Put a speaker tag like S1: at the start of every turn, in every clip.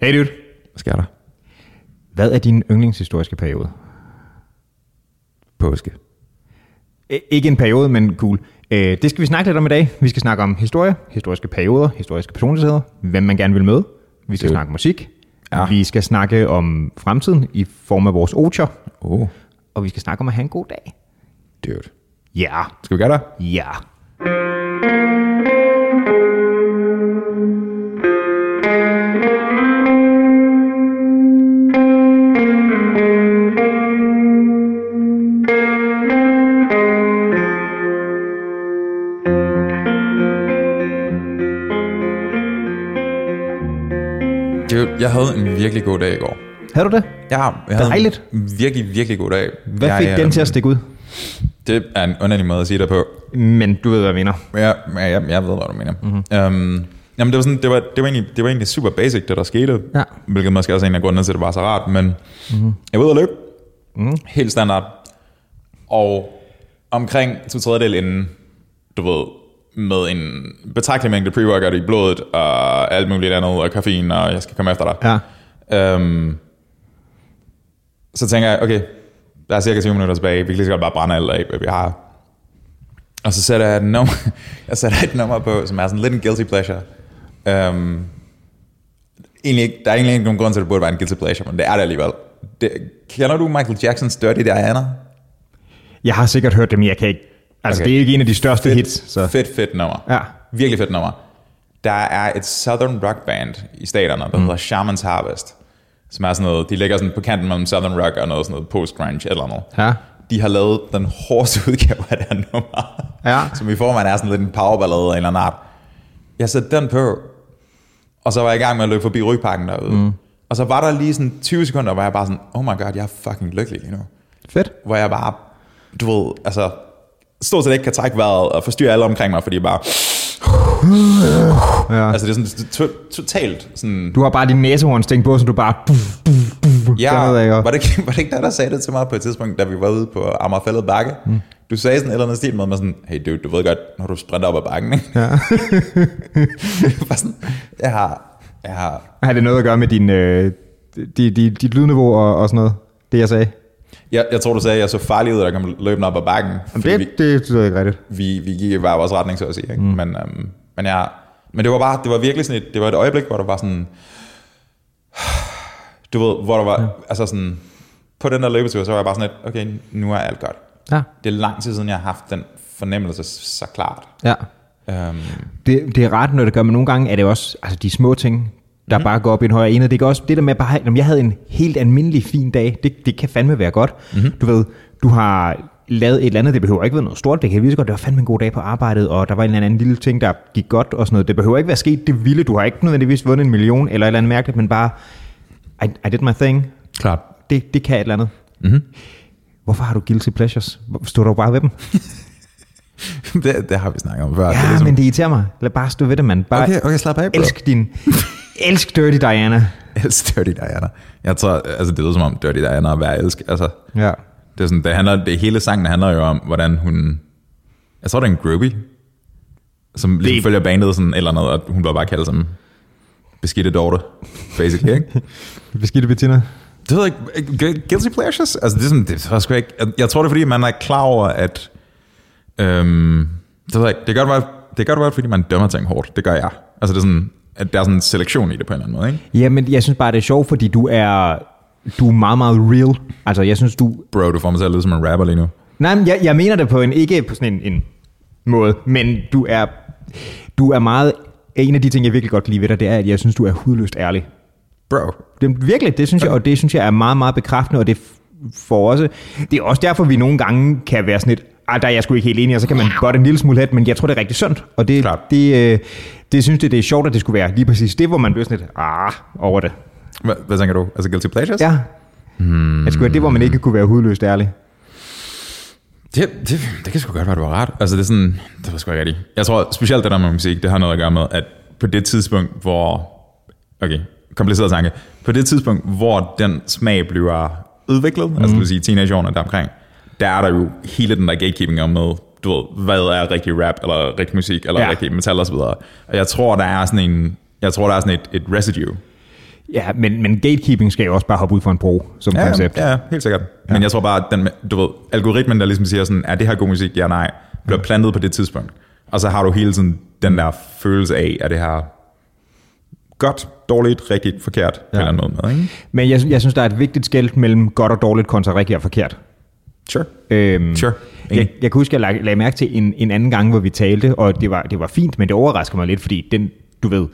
S1: Hey dude,
S2: Hvad sker der?
S1: hvad er din yndlingshistoriske periode?
S2: Påske.
S1: Æ, ikke en periode, men cool. Æ, det skal vi snakke lidt om i dag. Vi skal snakke om historie, historiske perioder, historiske personligheder, hvem man gerne vil møde. Vi skal
S2: Det-
S1: snakke musik.
S2: Ja.
S1: Vi skal snakke om fremtiden i form af vores otier.
S2: Åh, oh,
S1: Og vi skal snakke om at have en god dag.
S2: dude.
S1: Ja, yeah.
S2: Skal vi gøre det?
S1: ja. Yeah.
S2: Dude, jeg havde en virkelig god dag i går.
S1: Havde du det?
S2: Jeg, har- jeg havde
S1: Dejligt.
S2: en virkelig, virkelig god dag.
S1: Hvad
S2: jeg,
S1: fik den
S2: øhm,
S1: til at stikke ud?
S2: Det er en underlig måde at sige det på.
S1: Men du ved, hvad jeg mener.
S2: Ja, ja, jeg, jeg ved, hvad du mener. Mm-hmm. Øhm, jamen, det var, sådan, det, var, det, var egentlig, det var egentlig super basic, det der skete.
S1: Ja.
S2: Hvilket måske også er en af grundene til, at det var så rart. Men mm-hmm. jeg var ude at løbe. Mm-hmm. Helt standard. Og omkring to tredjedel inden, du ved, med en betragtelig mængde pre-workout i blodet, og alt muligt andet, og koffein, og jeg skal komme efter dig.
S1: Ja.
S2: Øhm, så tænker jeg, okay, der er cirka 20 minutter tilbage, vi kan lige så godt bare brænde alt af, hvad vi har. Og så sætter jeg et nummer, jeg sætter et nummer på, som er sådan lidt en guilty pleasure. Øhm, egentlig, ikke- der er egentlig ikke nogen grund til, at det burde være en guilty pleasure, men det er det alligevel. Det, kender du Michael Jacksons Dirty Diana?
S1: Jeg har sikkert hørt det, men jeg kan ikke... Altså, okay.
S2: Okay.
S1: det er ikke en af de største
S2: Fedt,
S1: hits, så...
S2: fedt, fedt nummer.
S1: Ja.
S2: Virkelig fedt nummer. Der er et Southern Rock Band i staterne, der mm. hedder Shaman's Harvest, som er sådan noget, de ligger sådan på kanten mellem Southern Rock og noget sådan noget post-grunge eller noget.
S1: Ja.
S2: De har lavet den hårdeste udgave af det her nummer,
S1: Ja.
S2: som i forvejen er sådan lidt en powerballade af en eller anden art. Jeg satte den på, og så var jeg i gang med at løbe forbi rygpakken derude. Mm. Og så var der lige sådan 20 sekunder, hvor jeg bare sådan, oh my god, jeg er fucking lykkelig lige nu
S1: Fedt.
S2: hvor jeg bare, du ved, altså, stort set ikke kan trække vejret og forstyrre alle omkring mig, fordi jeg bare,
S1: Ja.
S2: altså det er sådan to- totalt sådan,
S1: Du har bare din næsehornsting på, så du bare...
S2: ja,
S1: dernede af, og-
S2: var det, ikke, var det ikke der, der sagde det til mig på et tidspunkt, da vi var ude på Amagerfællet Bakke? Mm. Du sagde sådan et eller andet stil med mig sådan, hey dude, du ved godt, når du sprinter op ad bakken, ikke? Ja. bare sådan, jeg har, jeg har
S1: Har det noget at gøre med din, øh, di, di, dit lydniveau og, og sådan noget? Det jeg sagde?
S2: jeg, jeg tror, du sagde, at jeg så farlig ud, at jeg kom løbende op ad bakken. fordi vi-
S1: Det, det synes jeg ikke rigtigt.
S2: vi, vi gik i hver vores retning, så at sige. Ikke? Mm. Men, øhm, men, jeg, men det var bare, det var virkelig sådan et, det var et øjeblik, hvor der var sådan, du ved, hvor der var, ja. altså sådan, på den der løbetur, så var jeg bare sådan lidt, okay, nu er alt godt.
S1: Ja.
S2: Det er lang tid siden, jeg har haft den fornemmelse så klart.
S1: ja.
S2: Øhm,
S1: Det, det er ret, når det gør, men nogle gange er det også altså de små ting, der mm. bare går op i en højere enhed. Det kan også det der med bare, at jeg havde en helt almindelig fin dag, det, det kan fandme være godt. Mm-hmm. Du ved, du har lavet et eller andet, det behøver ikke være noget stort, det kan lige så godt, det var fandme en god dag på arbejdet, og der var en eller anden lille ting, der gik godt og sådan noget. Det behøver ikke være sket det vilde, du har ikke nødvendigvis vundet en million eller et eller andet mærkeligt, men bare, I, I did my thing,
S2: klart.
S1: Det, det kan et eller andet. Mhm.
S2: Mm-hmm.
S1: Hvorfor har du guilty pleasures? Hvor- Stå dog bare ved dem.
S2: det, det, har vi snakket om før.
S1: Ja, ligesom... men det irriterer mig. Lad bare stå ved dem, mand. Bare
S2: Okay, okay, slap af, bro.
S1: elsk din... elsk Dirty Diana.
S2: Elsk Dirty Diana. Jeg tror, altså det lyder som om Dirty Diana er værd at elske. Altså,
S1: Ja.
S2: det, er sådan, det, handler, det hele sangen handler jo om, hvordan hun... Jeg tror, det er en groupie, som ligesom
S1: Det-
S2: følger bandet sådan et eller andet, og hun bliver bare kaldt som beskidte dorte, basically, ikke?
S1: Beskidte Bettina.
S2: Det ved jeg ikke, gu- guilty pleasures? Altså, det er sådan, det er sgu ikke... Jeg, jeg tror, det er, fordi man er klar over, at... Øhm, det ved jeg ikke, det kan godt være, det kan godt være, fordi man dømmer ting hårdt. Det gør jeg. Altså, det er sådan, at der er sådan en selektion i det på en eller anden måde, ikke?
S1: Ja, men jeg synes bare, det er sjovt, fordi du er... Du er meget, meget real. Altså, jeg synes, du...
S2: Bro, du får mig til at lyde som en rapper lige nu.
S1: Nej, men jeg, jeg mener det på en... Ikke på sådan en, en måde, men du er... Du er meget... En af de ting, jeg virkelig godt kan lide ved dig, det er, at jeg synes, du er hudløst ærlig.
S2: Bro,
S1: Det, virkelig, det synes jeg, og det synes jeg er meget, meget bekræftende, og det for også, det er også derfor, vi nogle gange kan være sådan lidt, ah, der er jeg sgu ikke helt enig, og så kan man godt en lille smule hat, men jeg tror, det er rigtig sundt, og det,
S2: Klart.
S1: det, øh, det synes jeg, det er sjovt, at det skulle være lige præcis det, hvor man bliver sådan lidt, ah, over det.
S2: hvad, hvad tænker du? Altså, guilty pleasures?
S1: Ja. Hmm. At skulle være det, hvor man ikke kunne være hudløst ærlig.
S2: Det, det, det kan sgu godt være, du har ret. Altså, det er sådan, det var sgu ikke rigtigt. Jeg tror, specielt det der med musik, det har noget at gøre med, at på det tidspunkt, hvor... Okay, kompliceret tanke. På det tidspunkt, hvor den smag bliver udviklet, mm. altså det vil sige teenageårene der omkring, der er der jo hele den der gatekeeping om med, du ved, hvad er rigtig rap, eller rigtig musik, eller
S1: Ja.
S2: ja. rigtig metal osv. Og jeg tror, der er sådan en... Jeg tror, der er sådan et, et residue
S1: Ja, men, men gatekeeping skal jo også bare hoppe ud for en bro som
S2: Ja,
S1: koncept.
S2: Ja, ja, helt sikkert. Ja. Men jeg tror bare, at den, du ved, algoritmen, der ligesom siger sådan, er det her god musik? Ja, nej. Bliver plantet på det tidspunkt. Og så har du hele tiden den der følelse af, at det her godt, dårligt, rigtigt, forkert, ja. eller noget med, ikke?
S1: Men jeg, jeg synes, der er et vigtigt skæld mellem godt og dårligt kontra rigtigt og forkert.
S2: Sure.
S1: Øhm,
S2: Sure.
S1: Jeg, jeg kan huske, jeg lag, lagde mærke til en, en anden gang, hvor vi talte, og det var, det var fint, men det overrasker mig lidt, fordi den, du ved,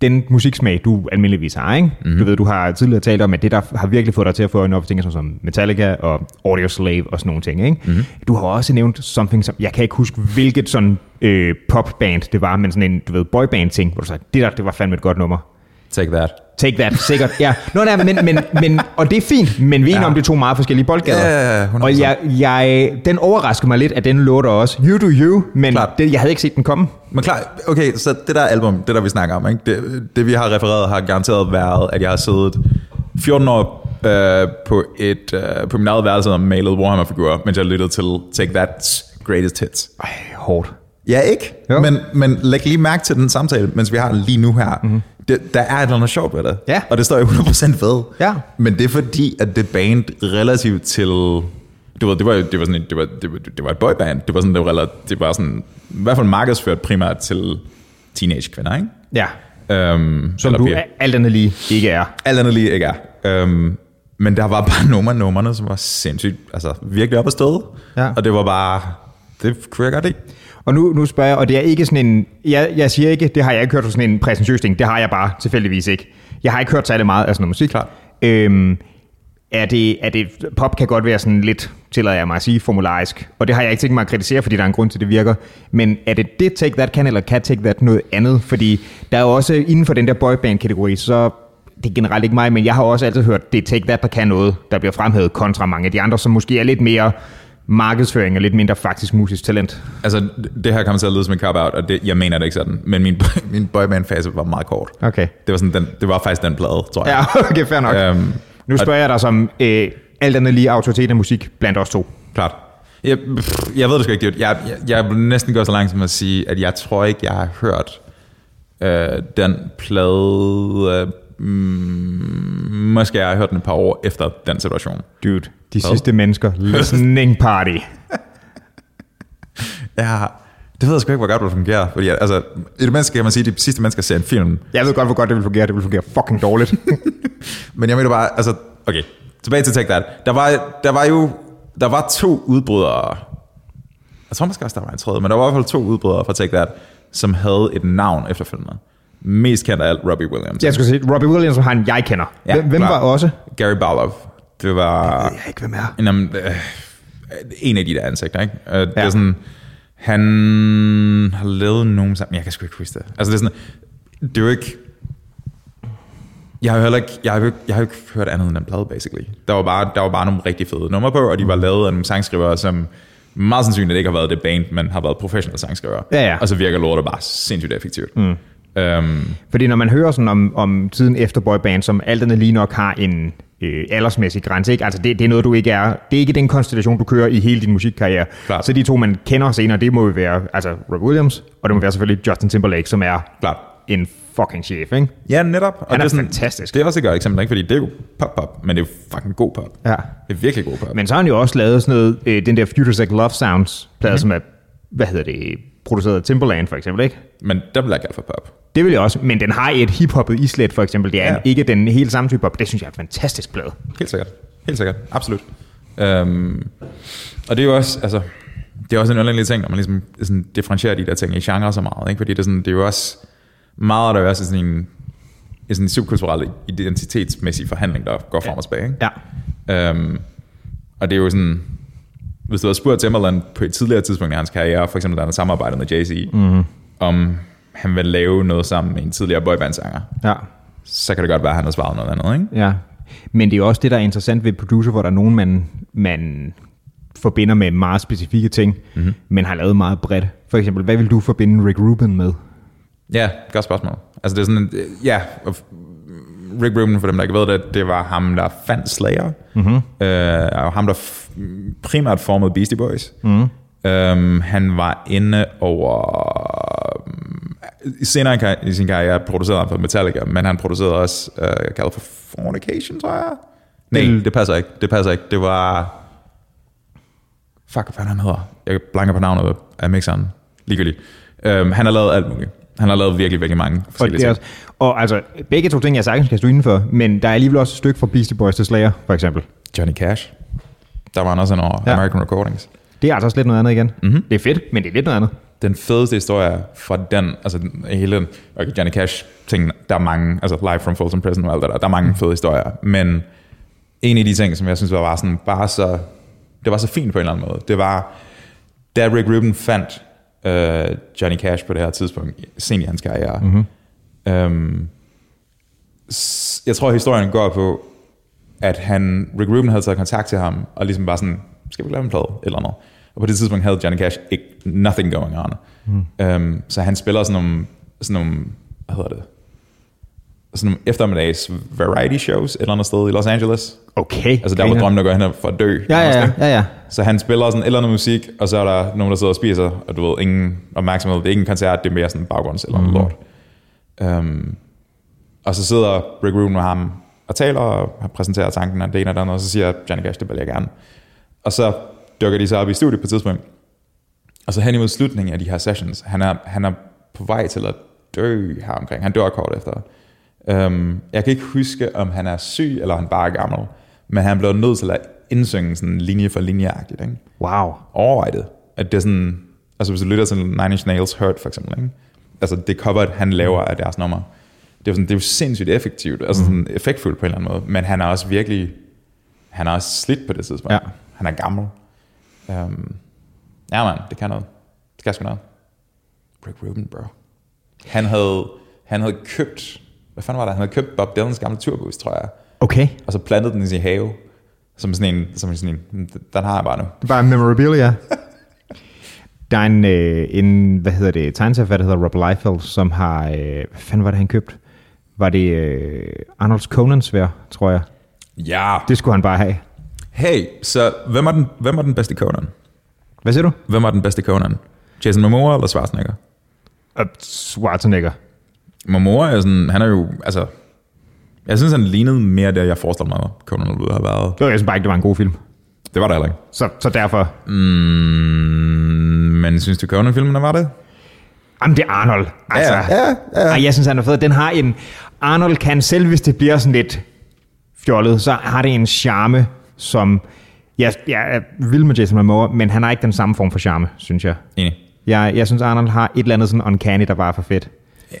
S1: den musiksmag, du almindeligvis har, ikke? Mm-hmm. du ved, du har tidligere talt om, at det, der har virkelig fået dig til at få øjnene op for ting sådan som Metallica og Audioslave og sådan nogle ting. Ikke? Mm-hmm. Du har også nævnt something, som, jeg kan ikke huske, hvilket sådan øh, popband det var, men sådan en, du ved, boyband-ting, hvor du sagde, det der, det var fandme et godt nummer.
S2: Take that.
S1: Take that, sikkert. Ja. Nå, nej, men, men, men, og det er fint, men vi er enige ja. om, det er to meget forskellige boldgader.
S2: Ja, ja, ja, 100%.
S1: og jeg, jeg, den overrasker mig lidt, at den lå der også. You do you, men
S2: Klart.
S1: det, jeg havde ikke set den komme.
S2: Men klar, okay, så det der album, det der vi snakker om, ikke? Det, det vi har refereret, har garanteret været, at jeg har siddet 14 år øh, på, et, øh, på min eget værelse og malet Warhammer-figurer, mens jeg lyttede til Take That's Greatest Hits.
S1: Ej, hårdt.
S2: Ja, ikke?
S1: Jo.
S2: Men, men læg lige mærke til den samtale, mens vi har den lige nu her. Mm-hmm. Det, der er et eller andet sjovt ved det.
S1: Mhm. Ja.
S2: Og det står jeg 100% ved.
S1: Ja.
S2: Men det er fordi, at det band relativt til... Du ved, det var, jo- det var, sådan, et- det var, det var, det var et boyband. Det var sådan, det var, rela- det var sådan, i hvert fald markedsført primært til teenage-kvinder, ikke?
S1: Ja,
S2: Øhm,
S1: som
S2: eller
S1: du
S2: piger.
S1: er, alt andet lige ikke er.
S2: Alt andet lige ikke er. Øhm, men der var bare nogle af numrene, som var sindssygt, altså virkelig op af sted.
S1: Ja.
S2: Og det var bare, det kunne jeg godt lide.
S1: Og nu, nu spørger jeg, og det er ikke sådan en... Jeg, jeg siger ikke, det har jeg ikke hørt fra sådan en præsentøs ting. Det har jeg bare tilfældigvis ikke. Jeg har ikke hørt særlig meget af sådan noget musik.
S2: Klart.
S1: Øhm, er det, er det, pop kan godt være sådan lidt, tillader jeg mig at sige, formularisk. Og det har jeg ikke tænkt mig at kritisere, fordi der er en grund til, det virker. Men er det det Take That kan, eller kan Take That noget andet? Fordi der er jo også inden for den der boyband-kategori, så det er generelt ikke mig, men jeg har også altid hørt, det er Take That, der kan noget, der bliver fremhævet kontra mange af de andre, som måske er lidt mere markedsføring og lidt mindre faktisk musisk talent.
S2: Altså, det her kommer til at lyde som en cop-out, og det, jeg mener det ikke sådan, men min, min boyband-fase var meget kort.
S1: Okay.
S2: Det var, sådan den, det var faktisk den plade, tror jeg.
S1: Ja, okay, fair nok.
S2: Øhm,
S1: nu spørger jeg dig som øh, alt andet lige autoritet af musik blandt os to.
S2: Klart. Jeg, pff, jeg ved det sgu ikke, dude. jeg, jeg, jeg vil næsten gå så langt som at sige, at jeg tror ikke, jeg har hørt øh, den plade... Øh, mm, måske jeg har hørt den et par år efter den situation.
S1: Dude, de sidste mennesker. Listening party.
S2: Ja, det ved jeg sgu ikke, hvor godt det fungerer. Fordi, jeg- altså, i det mindste kan man sige, at de sidste mennesker ser en film,
S1: Jeg ved godt, hvor godt det vil fungere. Det vil fungere fucking dårligt.
S2: Men jeg mener bare, altså, okay, tilbage til Tech That. Der var, der var jo, der var to udbrydere. Jeg tror måske også, der var en tredje, men der var i hvert fald to udbrydere fra Tech That, som havde et navn efterfølgende. Mest kendt af alt, Robbie Williams.
S1: jeg skulle sige, Robbie Williams har en, jeg kender.
S2: Ja,
S1: hvem hvem
S2: klar.
S1: var også?
S2: Gary Barlow. Det var
S1: Jeg ikke, hvem er.
S2: en, en, øh, en af de der ansigter, ikke? Øh, Det
S1: Ja.
S2: er sådan, han har lavet nogle sammen, jeg kan sgu ikke huske det. Altså det er sådan, det er jo ikke, jeg har jo heller ikke, jeg har jo ikke, jeg har jo ikke hørt andet end den plade, basically. Der var, bare, der var bare nogle rigtig fede numre på, og de var lavet af nogle sangskrivere, som meget sandsynligt ikke har været det band, men har været professionelle sangskrivere.
S1: Ja, ja.
S2: Og så virker lortet bare sindssygt effektivt. Mm. Øhm,
S1: Fordi når man hører sådan om, om tiden efter boyband, som alt andet lige nok har en øh, aldersmæssig grænse, ikke? altså det, det er noget, du ikke er, det er ikke den konstellation, du kører i hele din musikkarriere.
S2: Klart.
S1: Så de to, man kender senere, det må jo være altså Robbie Williams, og det må være selvfølgelig Justin Timberlake, som er
S2: klart.
S1: en fucking chef, ikke?
S2: Ja, netop. Og
S1: Han er
S2: det sådan,
S1: fantastisk.
S2: Det er også et godt eksempel, ikke? fordi det er jo pop-pop, men det er jo fucking god pop.
S1: Ja.
S2: Det er virkelig god pop.
S1: Men så har han jo også lavet sådan noget, øh, den der Futuristic Love Sounds plade, mm-hmm. som er, hvad hedder det, produceret af Timberland for eksempel, ikke?
S2: Men der bliver jeg kaldt for pop.
S1: Det vil jeg også, men den har et hiphoppet islet for eksempel, det er ja.
S2: Ja.
S1: ikke den hele samme type hop, det synes jeg er en fantastisk plade.
S2: Helt sikkert. Helt sikkert. Absolut. Øhm, og det er jo også, altså, det er også en underlig ting, når man ligesom sådan differentierer de der ting i genre så meget, ikke? Fordi det er, sådan, det er jo også meget, der er jo også sådan en, en sådan subkulturel identitetsmæssig forhandling, der går frem og tilbage, ikke?
S1: Ja.
S2: Øhm, og det er jo sådan, hvis du havde spurgt Timberland på et tidligere tidspunkt i hans karriere, for eksempel da han samarbejdede med Jay-Z, mm. om han ville lave noget sammen med en tidligere boybandsanger,
S1: Ja.
S2: så kan det godt være, at han har svaret noget andet, ikke?
S1: Ja, men det er jo også det, der er interessant ved producer, hvor der er nogen, man, man forbinder med meget specifikke ting, mm-hmm. men har lavet meget bredt. For eksempel, hvad vil du forbinde Rick Rubin med?
S2: Ja, Also godt spørgsmål. Altså det er sådan, en- äh, ja, og f- Rick Rubin, for dem der ikke ved det, det var ham, der fandt Slayer,
S1: Mhm.
S2: mm-hmm. øh, og ham, der f- primært formede
S1: Mhm.
S2: Beastie Boys. Mm-hmm. Øhm, han var inde over øhm, senere i kar- i sin karriere producerede han for Metallica, men han producerede også uh, Californication, tror jeg. Nej,
S1: Det-
S2: det passer ikke. Det passer ikke. Det var... Fuck, hvad han hedder. Jeg blanker på navnet af mixeren. Ligegyldigt. Um, han har lavet alt muligt. Han har lavet virkelig, virkelig mange
S1: Og,
S2: forskellige
S1: det er,
S2: ting.
S1: også- og altså, begge to ting, jeg sagtens kan stå indenfor, men der er alligevel også et stykke fra Beastie Boys til Slayer, for eksempel.
S2: Johnny Cash. Der var han også en over
S1: Ja.
S2: ja. American Recordings.
S1: Det er altså også lidt noget andet igen.
S2: Mhm.
S1: Mm-hmm. Det er fedt, men det er lidt noget andet.
S2: den fedeste historie fra den, altså den- hele den, okay, Johnny Cash ting, der er mange, altså Live from Folsom Prison og alt det der, der er mange fede historier, men en af de ting, som jeg synes var bare sådan, bare så, det var så fint på en eller anden måde, det var, da Rick Rubin fandt øh, Johnny Cash på det her tidspunkt, sent i hans karriere, mm-hmm. øhm, s- jeg tror, historien går på, at han, Rick Rubin havde taget kontakt til ham, og ligesom bare sådan, skal vi lave en plade, eller noget. Og på det tidspunkt havde Johnny Cash ikke nothing going on.
S1: Hmm.
S2: Mm. Um, så han spiller sådan nogle, sådan nogle, hvad hedder det, sådan nogle eftermiddags variety shows et eller andet sted i Los Angeles.
S1: Okay.
S2: Altså der, hvor drømmen der går hen og for at dø.
S1: Ja, ja, ja,
S2: nærmest, ikke?
S1: ja, ja.
S2: Så han spiller sådan et eller andet musik, og så er der nogen, der sidder og spiser, og du ved, ingen opmærksomhed. Det er ikke en koncert, det er mere sådan baggrunds eller mm. lort. Um, og så sidder Rick Rubin med ham og taler og præsenterer tanken, og det ene og det andet, og så siger Johnny Cash, det vil jeg gerne. Og så dukker de så op i studiet på et tidspunkt, og så hen imod slutningen af de her sessions, han er, han er på vej til at dø her omkring. Han dør kort efter. Um, jeg kan ikke huske, om han er syg, eller han bare er gammel, men han blev nødt til at indsynge sådan linje for linje-agtigt. Ikke?
S1: Wow.
S2: Overvej det. At det er sådan, altså hvis du lytter til Nine Inch Nails Hurt for eksempel, ikke? altså det cover, han laver af deres nummer, det er, jo sådan, det er jo sindssygt effektivt, altså sådan effektfuldt på en eller anden måde, men han er også virkelig, han er også slidt på det tidspunkt.
S1: Ja.
S2: Han er gammel. Um, ja, man, det kan noget. Det kan sgu noget. Rick Rubin, bro. Han havde, han havde købt, hvad fanden var det? Han havde købt Bob Dylans gamle turbus, tror jeg.
S1: Okay.
S2: Og så plantet den i sin have. Som sådan en, som sådan en, den har jeg bare nu.
S1: Det var memorabilia. Der er en, øh, en hvad hedder det, tegnsaffair, der hedder Rob Liefeld, som har, øh, hvad fanden var det, han købte? Var det øh, Arnold Conans vær, tror jeg.
S2: Ja.
S1: Det skulle han bare have.
S2: Hey, så hvem er den, hvem er den bedste Conan?
S1: Hvad siger du?
S2: Hvem er den bedste Conan? Jason Momoa eller Schwarzenegger?
S1: Øh, Schwarzenegger.
S2: Momoa er sådan, han er jo, altså... Jeg synes, han lignede mere det, jeg forestiller mig, Conan ville have været.
S1: Det var jeg synes bare ikke, det var en god film.
S2: Det var der heller ikke.
S1: Så, så derfor,
S2: Mm, men synes du, Conan-filmen var det?
S1: Jamen, det er Arnold. Altså,
S2: ja, ja.
S1: Ej, jeg synes, han er fed. Den har en... Arnold kan selv, hvis det bliver sådan lidt fjollet, så har det en charme, som... Jeg, jeg er vild med Jason Momoa, men han har ikke den samme form for charme, synes jeg.
S2: Enig.
S1: Jeg, jeg synes, Arnold har et eller andet sådan uncanny, der bare er for fedt.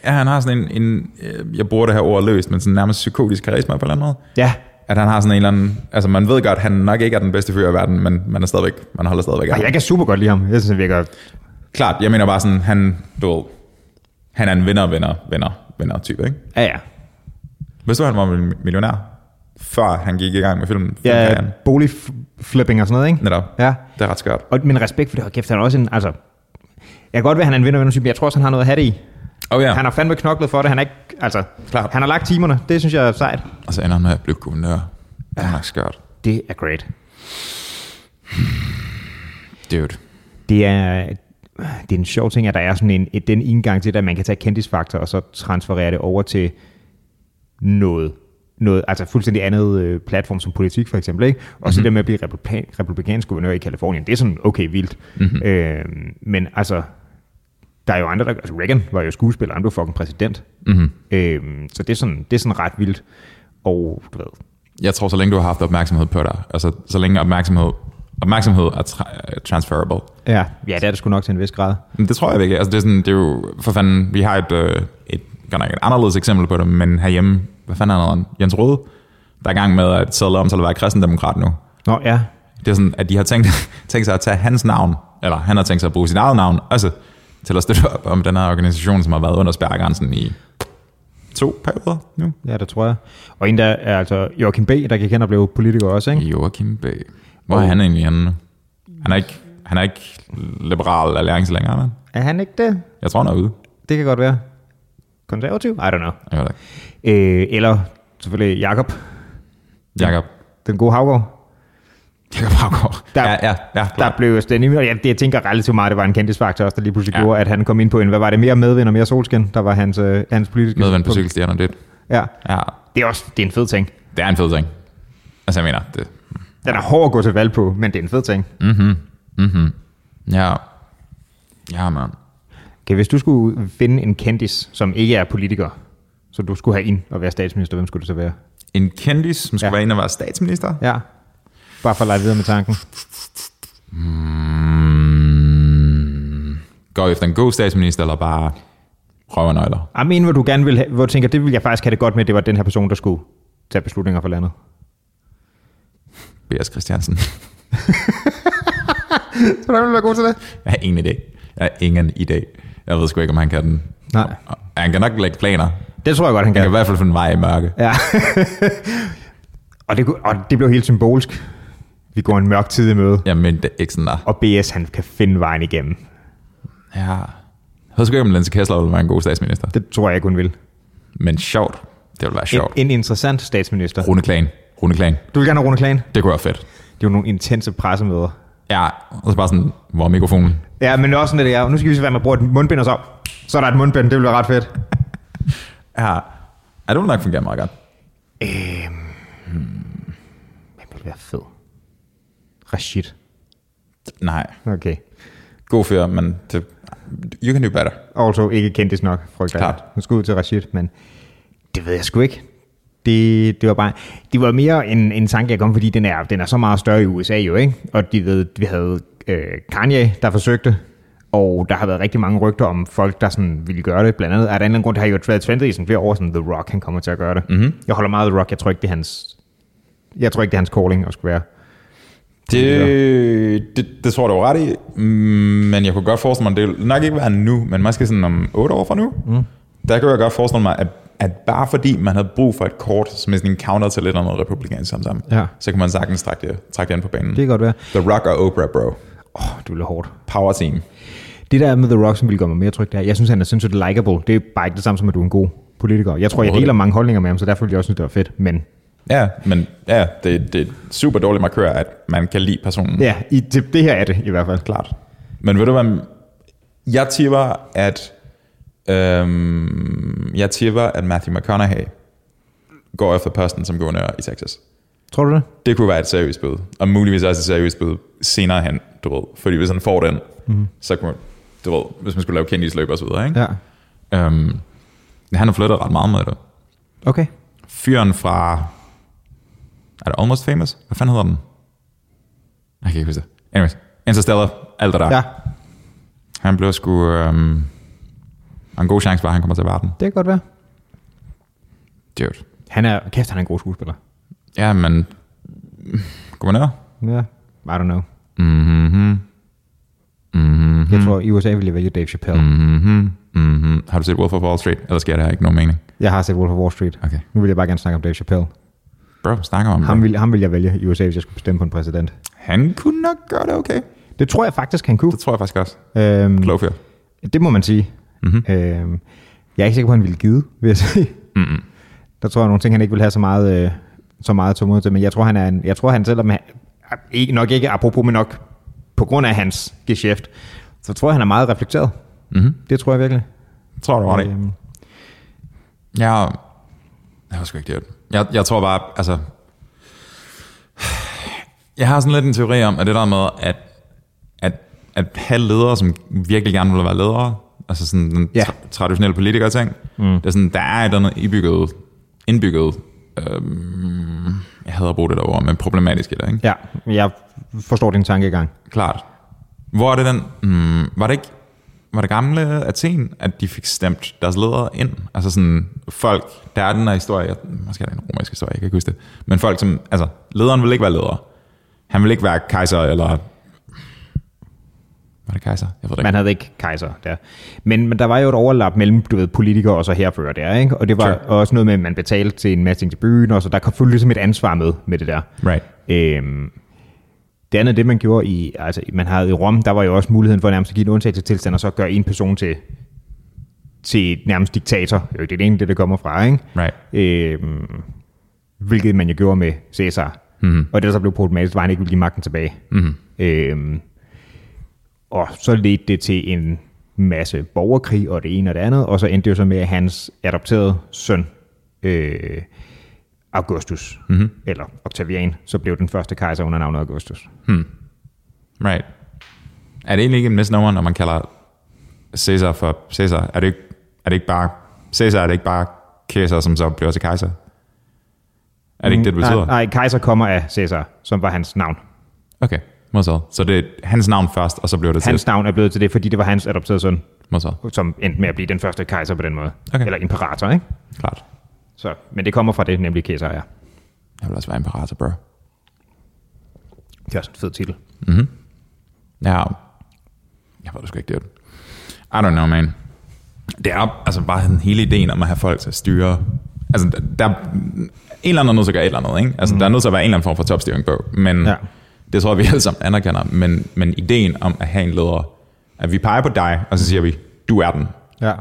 S2: Ja, han har sådan en, en øh, jeg bruger det her ord løst, men sådan nærmest psykotisk karisma på en eller anden måde.
S1: Ja,
S2: At han har sådan en eller anden, altså man ved godt, han nok ikke er den bedste fyr i verden, men man er stadigvæk, man holder stadigvæk af
S1: og
S2: ham.
S1: jeg kan super godt lide ham. Jeg synes, han virker...
S2: Klart, jeg mener bare sådan, han, du ved, han er en vinder, vinder, vinder, vinder type, ikke?
S1: Ja, ja.
S2: Vidste du, han var en millionær, før han gik i gang med filmen?
S1: Ja,
S2: filmkarrieren?
S1: boligflipping og sådan noget, ikke?
S2: Netop.
S1: Ja.
S2: Det er ret skørt.
S1: Og, men respekt for det, og kæft, han er også en... Altså, jeg kan godt være, at han er en vinder, men jeg tror også, han har noget at have det i.
S2: Og ja,
S1: Han har fandme knoklet for det. Han er ikke, altså,
S2: Klart.
S1: han har lagt timerne. Det synes jeg er sejt.
S2: og så ender han med at blive guvernør. Det er nok skørt.
S1: Det er great.
S2: Dude.
S1: Det er, det er en sjov ting, at der er sådan en, et, den indgang til, at man kan tage kendisfaktor, og så transferere det over til noget, noget altså fuldstændig andet øh, platform som politik for eksempel, ikke? Og mm-hmm. så det med at blive republikan, republikansk guvernør i Kalifornien, det er sådan okay vildt. Mm-hmm. Øh, men altså, der er jo andre, der, altså Reagan var jo skuespiller, han blev fucking præsident.
S2: Mhm.
S1: Mm-hmm. Øh, så det er, sådan, det er sådan ret vildt. Og du ved,
S2: Jeg tror, så længe du har haft opmærksomhed på dig, altså så længe opmærksomhed, opmærksomhed er tra- transferable,
S1: ja, ja det er det sgu nok til en vis grad.
S2: Men Det tror jeg ikke. Altså, det, er sådan, det er jo, for fanden, vi har et, øh, et, godt nok et anderledes eksempel på det, men herhjemme, hvad fanden er han? Jens Rode, der er i gang med at sædle om til at være kristendemokrat nu.
S1: Nå ja,
S2: Det er sådan, at de har tænkt, tænkt sig at tage hans navn, eller han har tænkt sig at bruge sit eget navn, også til at støtte op om den her organisation, som har været under spærregrænsen i to perioder nu.
S1: Ja, det tror jeg. Og en der er altså Joachim B., der gik hen og blev politiker også, ikke?
S2: Joachim B. Hvor er han egentlig henne nu? Han er ikke, han er ikke liberal alliance længere, er han?
S1: Er han ikke det?
S2: Jeg tror, han er ude.
S1: Det kan godt være. Konservativ? I don't know.
S2: Jeg ved det ikke.
S1: Øh, eller selvfølgelig Jakob,
S2: Jakob.
S1: den gode Havgård.
S2: Jakob Havgaard.
S1: Der,
S2: ja, ja, ja,
S1: der
S2: klart.
S1: blev Stanley, og jeg, jeg tænker relativt meget, det var en kendtisfaktor også, der lige pludselig ja.
S2: Ja.
S1: gjorde, at han kom ind på en, hvad var det, mere medvind og mere solskin, der var hans, øh, hans politiske...
S2: Medvand på
S1: synspunkt.
S2: cykelstjerne, det,
S1: Ja,
S2: ja,
S1: det er også det er en fed ting.
S2: det er en fed ting. Altså, jeg mener, det,
S1: Den er hård at gå til valg på, men det er en fed ting.
S2: ja, ja, man.
S1: Okay, hvis du skulle finde en kendis, som ikke er politiker, så du skulle have ind og være statsminister, hvem skulle det så være?
S2: En kendis, som skulle
S1: Ja.
S2: ja. være en, der var statsminister.
S1: Ja, bare for at lege videre med tanken.
S2: Mm, går I efter en god statsminister, eller bare røvernøgler?
S1: Jeg mener, hvor du gerne vil have, hvor du tænker, det vil jeg faktisk have det godt med, det var den her person, der skulle tage beslutninger for landet.
S2: B.S. Christiansen.
S1: Så der vil være god til det.
S2: Jeg har ingen idé. Jeg har ingen idé. Jeg ved sgu ikke, om han kan den.
S1: Nej.
S2: Og Han kan nok lægge planer.
S1: Det tror jeg godt,
S2: Han
S1: han kan.
S2: kan i hvert fald finde vej i mørke.
S1: Ja. og, det, kunne- og det blev helt symbolsk. Vi går en mørk tid i møde,
S2: Jamen, det er ikke sådan der.
S1: og BS han kan finde vejen igennem.
S2: Ja. Jeg ved sgu ikke, om Lindsay Kessler ville være en god statsminister.
S1: Det tror jeg ikke, hun vil.
S2: Men sjovt. Det ville være
S1: En,
S2: sjovt.
S1: en interessant statsminister.
S2: Rune Klagen. Rune Klagen.
S1: Du vil gerne have Rune Klagen?
S2: Det kunne være fedt.
S1: Det er jo nogle intense pressemøder.
S2: Ja, og så bare sådan, hvor er mikrofonen?
S1: Ja, men også sådan lidt, ja, nu skal vi se, hvad man bruger et mundbind og så. Så er der et mundbind, det bliver ret fedt.
S2: Ja. Ja, det ville nok fungere meget godt.
S1: Øhm, hmm. Hvem ville være fed? Rashid.
S2: Nej.
S1: Okay.
S2: God fyr, men det, you can do better.
S1: Also ikke kendtis nok, frygter jeg.
S2: Klart.
S1: Hun skulle ud til Rashid, men det ved jeg sgu ikke. Det, det var bare, det var mere en, en tanke, jeg kom, fordi den er, den er så meget større i USA jo, ikke? Og de ved, vi havde øh, Kanye, der forsøgte, og der har været rigtig mange rygter om folk, der sådan ville gøre det. Blandt andet er der en eller anden grund, der har jo været trendet i sådan flere år, sådan The Rock, han kommer til at gøre det. Mm-hmm. Jeg holder meget af The Rock, jeg tror ikke, det er hans, jeg tror ikke, det er hans calling at skulle være.
S2: Det, det, det tror jeg, du var ret i, mm, men jeg kunne godt forestille mig, det vil nok ikke være nu, men måske sådan om 8 år fra nu, mm. der kunne jeg godt forestille mig, at, at bare fordi man havde brug for et kort, som er sådan en counter til lidt af noget republikansk sammen,
S1: Ja.
S2: så kunne man sagtens trække det, trække det ind på banen.
S1: Det kan godt være.
S2: The Rock og Oprah, bro.
S1: Åh, oh, det bliver hårdt.
S2: Power team.
S1: Det der er med The Rock, som ville gøre mig mere tryg, det er, jeg synes, han er sindssygt likable. Det er bare ikke det samme som, at du er en god politiker. Jeg tror, jeg
S2: Overhovedet
S1: deler mange holdninger med ham, så derfor ville jeg også synes, det var fedt. Men
S2: Ja, men ja, det, det er super dårligt markør, at man kan lide personen.
S1: ja, i, det, det her er det i hvert fald.
S2: Klart. Men ved du hvad, jeg tipper, at øhm, jeg tipper, at Matthew McConaughey går efter posten som guvernør i Texas.
S1: Tror du det?
S2: Det kunne være et seriøst bud, og muligvis også et seriøst bud senere hen, du ved. Fordi hvis han får den, mm. så kunne man, du ved, hvis man skulle lave kendisløb og så videre, ikke?
S1: Ja.
S2: Ja. Øhm, han har flyttet ret meget med det.
S1: Okay.
S2: Fyren fra, er det Almost Famous? Hvad fanden hedder den? Jeg kan ikke huske det. Anyways, Interstellar, alt det der.
S1: Ja,
S2: Han blev sgu... Øhm, og en god chance var, at han kommer til verden.
S1: det kan godt være.
S2: Dude.
S1: Han er, kæft, han er en god skuespiller.
S2: Ja, men... mm, Guvernør?
S1: Ja, I don't know. Mm-hmm. Mm-hmm. Jeg tror, i USA ville jeg vælge Dave Chappelle. Mm.
S2: Mhm. Mhm. Har du set Wolf of Wall Street? Ellers giver det her ikke nogen mening.
S1: Jeg har set Wolf of Wall Street.
S2: Okay.
S1: Nu vil jeg bare gerne snakke om Dave Chappelle.
S2: Bro, snakker om
S1: Ham
S2: det.
S1: vil, ham vil jeg vælge i USA, hvis jeg skulle bestemme på en præsident.
S2: Han kunne nok gøre det okay.
S1: Det tror jeg faktisk, han kunne.
S2: Det tror jeg faktisk også.
S1: Øhm,
S2: Klog fyr.
S1: Det må man sige.
S2: Mhm.
S1: Mm-hmm. Øh, jeg er ikke sikker på, at han ville gide, vil jeg sige. Mm-hmm. Der tror jeg nogle ting, han ikke vil have så meget, øh, så meget tålmodighed til, men jeg tror, han er en, jeg tror, han selvom han, ikke, nok ikke apropos, men nok på grund af hans geschæft, så tror jeg, han er meget reflekteret.
S2: Mhm.
S1: Det tror jeg virkelig.
S2: Tror du, det?
S1: Øhm,
S2: Ja, jeg var sgu ikke det. Jeg, jeg tror bare, altså... Jeg har sådan lidt en teori om, at det der med, at, at, at have ledere, som virkelig gerne vil være ledere, altså sådan den
S1: Ja.
S2: ja. tra- traditionelle politikere ting, mm. det er sådan, der er et eller andet indbygget, indbygget øhm, jeg hader at bruge det der ord, men problematisk i det, ikke?
S1: ja, jeg forstår din tankegang.
S2: Klart. Hvor er det den... Mm, var det ikke... Var det gamle Athen, at de fik stemt deres ledere ind? Altså sådan folk, der er den her historie, jeg- måske er det en romersk historie, jeg kan ikke huske det, men folk som, altså lederen vil ikke være leder. Han vil ikke være kejser eller... Var det kejser? Jeg ved det ikke.
S1: Man havde ikke kejser der. Men, men der var jo et overlap mellem, du ved, politikere og så herfører der, ikke? Og det var sure.
S2: Sure.
S1: også noget med, at man betalte til en masse ting til byen, og så der kom fuldt ligesom et ansvar med, med det der.
S2: Right.
S1: Øhm, det andet er det, man gjorde i, altså man havde i Rom, der var jo også muligheden for nærmest at give en undtagelsestilstand, og så gøre en person til, til nærmest diktator. Det er jo ikke det, det, er egentlig det, det kommer fra, ikke?
S2: Right.
S1: Øhm, hvilket man jo gjorde med Cæsar.
S2: Mhm.
S1: Mm-hmm. Og det, der så blev problematisk, var, at han ikke ville give magten tilbage. Mm-hmm. Øhm, og så ledte det til en masse borgerkrig og det ene og det andet, og så endte det jo så med, at hans adopterede søn, øh, Augustus,
S2: Mhm.
S1: mm-hmm. eller Octavian, så blev den første kejser under navnet Augustus.
S2: Right. Er det egentlig ikke en misnomer, når man kalder Caesar for Caesar? Er det ikke, er det ikke bare... Caesar er det ikke bare kejser, som så bliver til kejser? Er det ikke det, det betyder?
S1: Mm, Nej, nej, kejser kommer af Caesar, som var hans navn.
S2: Okay, må så. Så det er hans navn først, og så bliver det til...
S1: Hans navn er blevet til det, fordi det var hans adopterede søn,
S2: Må så.
S1: som endte med at blive den første kejser på den måde.
S2: Okay.
S1: Eller imperator, ikke?
S2: Klart.
S1: Så, men det kommer fra det, nemlig kejser er.
S2: Jeg vil også være imperator, bro.
S1: Det er også en fed titel.
S2: Ja. Jeg ved det sgu ikke, det er det. I don't know, man. Det er altså bare den hele ideen om at have folk til at styre. Altså, der, der er en eller anden er nødt til at gøre et eller andet, ikke? Altså, mm. der er nødt til at være en eller anden form for topstyring på, men
S1: Ja.
S2: ja. det tror jeg, vi alle sammen anerkender. Men, men ideen om at have en leder, at vi peger på dig, og så siger vi, du er den.
S1: Ja.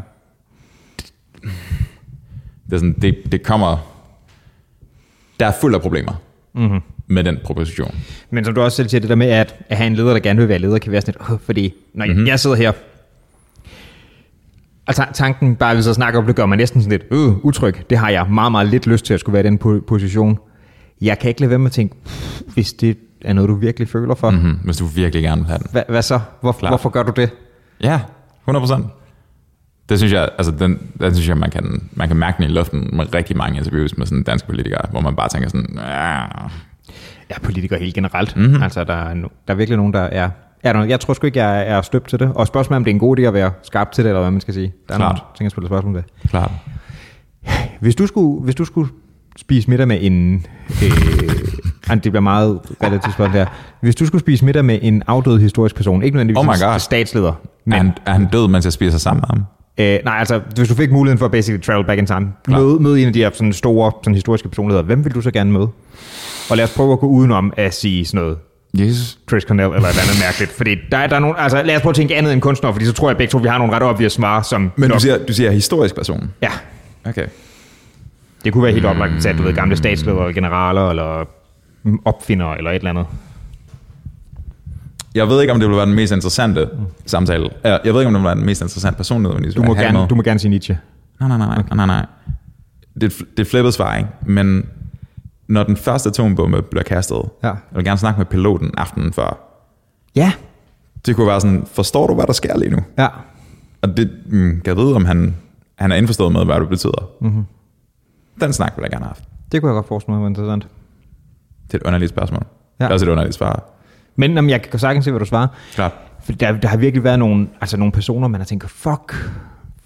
S2: Det, er sådan, det, det kommer... Der er fuld af problemer mm-hmm. med den proposition.
S1: Men som du også selv siger, det der med at, at have en leder, der gerne vil være leder, kan være sådan lidt, "Åh, fordi når mm-hmm. jeg sidder her, og ta- tanken bare, hvis jeg snakker om det, gør mig næsten sådan lidt øh, utryg. Det har jeg meget, meget lidt lyst til at skulle være i den po- position. Jeg kan ikke lade være med at tænke, "Pff, hvis det er noget, du virkelig føler for, mm-hmm.
S2: Mm, hvis du virkelig gerne vil have den.
S1: hvad, hvad så? Hvor, hvorfor gør du det?
S2: Ja, 100%. Det synes jeg, altså den, den synes jeg, man kan, man kan mærke den i luften med rigtig mange interviews med sådan danske politikere, hvor man bare tænker sådan, "Ah."
S1: Ja, politikere helt generelt. Mm-hmm. Altså, der er, no- der er virkelig nogen, der er... er der, jeg tror sgu ikke, jeg er støbt til det. Og spørgsmålet er, om det er en god idé at være skarp til det, eller hvad man skal sige. Der er
S2: Klart.
S1: nogle ting, jeg spiller spørgsmål ved.
S2: klart.
S1: Hvis du skulle, hvis du skulle spise middag med en... Øh, ej, det bliver meget relativt spørgsmål der. Hvis du skulle spise middag med en afdød historisk person, ikke
S2: Oh my
S1: nødvendigvis
S2: God.
S1: en statsleder,
S2: Men, er,
S1: men...
S2: han, er han død, mens jeg spiser sammen med ham?
S1: Øh, nej, altså, hvis du fik muligheden for basically travel back in time,
S2: Klar.
S1: møde, møde en af de her sådan store sådan historiske personligheder, hvem vil du så gerne møde? Og lad os prøve at gå udenom at sige sådan noget
S2: Jesus.
S1: Chris Cornell eller et andet mærkeligt. Fordi der, er- der er nogen, altså lad os prøve at tænke andet end kunstnere, fordi så tror jeg begge to, vi har nogle ret obvious svar, som
S2: Men
S1: nok,
S2: du siger, du siger historisk person.
S1: Ja,
S2: Okay.
S1: det kunne være helt oplagt, hvis at du ved, gamle statsledere, generaler eller mm, opfindere eller et eller andet.
S2: Jeg ved ikke, om det vil være den mest interessante samtale. Øh, Jeg ved ikke, om det vil være den mest interessante person, nødvendigvis.
S1: Du må,
S2: at have
S1: gerne,
S2: med.
S1: du må gerne sige Nietzsche.
S2: Nej, nej, nej, nej, okay. nej, nej. Det, er et- det er et flippet svar, ikke? Men når den første atombombe bliver kastet,
S1: Ja.
S2: jeg vil gerne snakke med piloten aftenen før,
S1: Ja.
S2: Det kunne være sådan, forstår du, hvad der sker lige nu?
S1: Ja.
S2: Og det, mm, kan jeg vide, om han, han er indforstået med, hvad det betyder. Mm-hmm. Den snak ville jeg gerne have haft.
S1: Det kunne jeg godt forestille mig var interessant.
S2: Det er et underligt spørgsmål. Ja. Det
S1: Ja.
S2: er også et underligt svar.
S1: Men om jeg kan sagtens se, hvad du svarer.
S2: Klart.
S1: For der, der har virkelig været nogle, altså nogle personer, man har tænkt, fuck,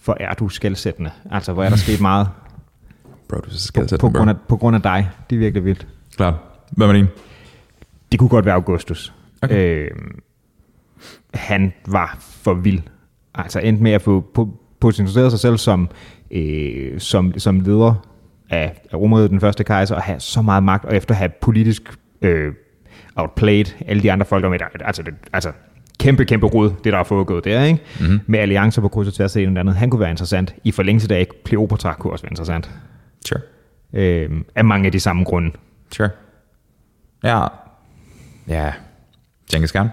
S1: hvor er du skældsættende. Altså, hvor er der sket meget
S2: Bro, du skal sætte
S1: på
S2: den, bro.
S1: grund, af, på grund af dig. Det er virkelig vildt.
S2: Klart. Hvad med din?
S1: Det kunne godt være Augustus.
S2: Okay.
S1: Øh, han var for vild. Altså endte med at få po- positioneret sig selv som, øh, som, som leder af, af Romeriet, den første kejser, og have så meget magt, og efter at have politisk øh, outplayed alle de andre folk, der var med, der- altså, det, altså kæmpe, kæmpe rod, det der er foregået der, ikke? Mm-hmm. Med alliancer på kryds og tværs af det ene og det andet. Han kunne være interessant. I forlængelse af Kleopatra kunne også være interessant.
S2: Sure.
S1: Øh, af mange af de samme grunde.
S2: Sure. Ja. Ja. Genghis Khan.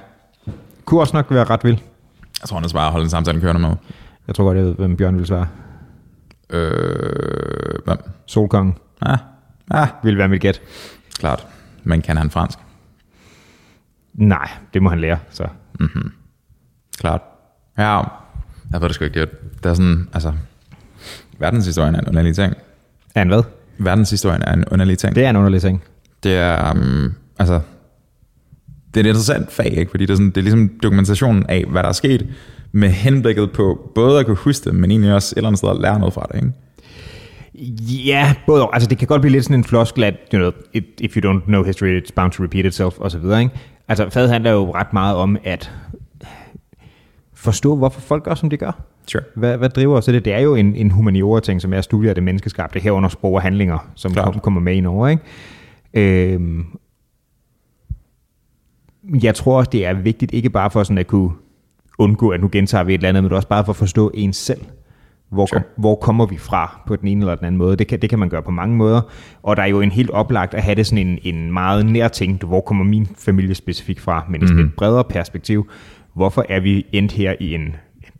S1: Kunne også nok være ret vild.
S2: Jeg tror, han er svaret at holde en samtale kørende med.
S1: Jeg tror godt, jeg ved, hvem Bjørn ville svare.
S2: Øh, hvem?
S1: Solkongen
S2: Ah, ah,
S1: vil være mit gæt.
S2: klart. Men kan han fransk?
S1: Nej, det må han lære, så.
S2: Klart. Ja, jeg ved det sgu ikke. Det er- Det er sådan, altså, verdenshistorien er en underlig ting.
S1: Er han hvad?
S2: Verdenshistorien er en underlig ting. Det,
S1: Det er en underlig ting.
S2: det er, um, altså, det er et interessant fag, ikke? fordi det er, sådan, det er ligesom dokumentationen af, hvad der er sket, med henblikket på både at kunne huske det, men egentlig også et eller andet sted at lære noget fra det. Ikke?
S1: Ja, både og. Altså, det kan godt blive lidt sådan en floskel, at you know, it, if you don't know history, it's bound to repeat itself, og så videre, ikke? Altså, faget handler jo ret meget om at forstå, hvorfor folk gør, som de gør.
S2: Sure.
S1: Hvad, hvad driver os til det? Det er jo en, en humaniora-ting, som er at studere det menneskeskabte, herunder sprog og handlinger, som
S2: Klart.
S1: kom, kommer med ind over. Ikke? Øhm, jeg tror også, det er vigtigt, ikke bare for sådan at kunne undgå, at nu gentager vi et eller andet, men også bare for at forstå en selv, Hvor, sure. hvor kommer vi fra på den ene eller den anden måde? Det kan, det kan man gøre på mange måder. Og der er jo en helt oplagt at have det sådan en, en meget nær ting, hvor kommer min familie specifikt fra, men i mm-hmm. et lidt bredere perspektiv. Hvorfor er vi endt her i en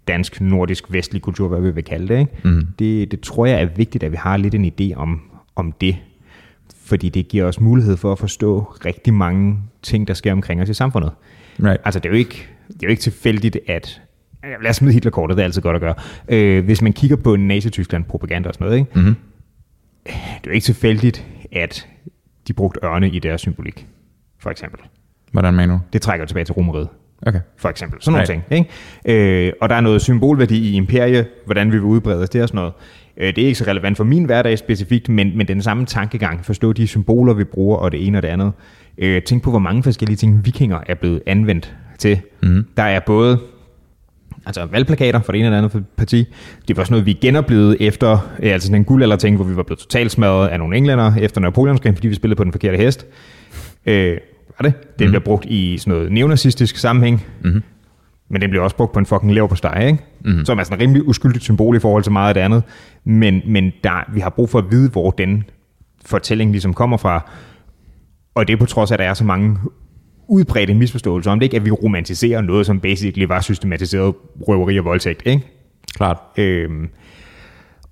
S1: dansk, nordisk, vestlig kultur, hvad vi vil kalde det, ikke? Mm. det. Det tror jeg er vigtigt, at vi har lidt en idé om, om det. Fordi det giver os mulighed for at forstå rigtig mange ting, der sker omkring os i samfundet.
S2: Right.
S1: Altså det er jo ikke, det er jo ikke tilfældigt, at lad os smide Hitlerkortet, det er altid godt at gøre. Øh, hvis man kigger på Nazi-Tyskland-propaganda og sådan noget, ikke? Mm-hmm. det er jo ikke tilfældigt, at de brugte ørne i deres symbolik, for eksempel.
S2: Hvordan mener du?
S1: Det trækker tilbage til romeriet.
S2: Okay.
S1: For eksempel. Sådan nogle
S2: Nej.
S1: ting. Ikke? Øh, og der er noget symbolværdi i imperie, hvordan vi vil udbrede os, det og sådan noget. Øh, det er ikke så relevant for min hverdag specifikt, men, men den samme tankegang, forstå de symboler, vi bruger, og det ene og det andet. Øh, tænk på, hvor mange forskellige ting vikinger er blevet anvendt til. Mm. Der er både altså valgplakater for det ene eller andet parti. Det var sådan noget, vi genoplevede efter øh, altså sådan en guldalderting, hvor vi var blevet totalt smadret af nogle englænder efter Napoleonskrigen, fordi vi spillede på den forkerte hest. Øh, var det? Den mm. bliver brugt i sådan noget neonazistisk sammenhæng, mm. men den bliver også brugt på en fucking lever på steg, ikke? Mm. Som er sådan et rimelig uskyldigt symbol i forhold til meget af det andet. Men, men der, vi har brug for at vide, hvor den fortælling ligesom kommer fra. Og det er på trods af, at der er så mange udbredte misforståelser om det, ikke? at vi romantiserer noget, som basically var systematiseret røveri og voldtægt. Ikke?
S2: Klart.
S1: Øhm,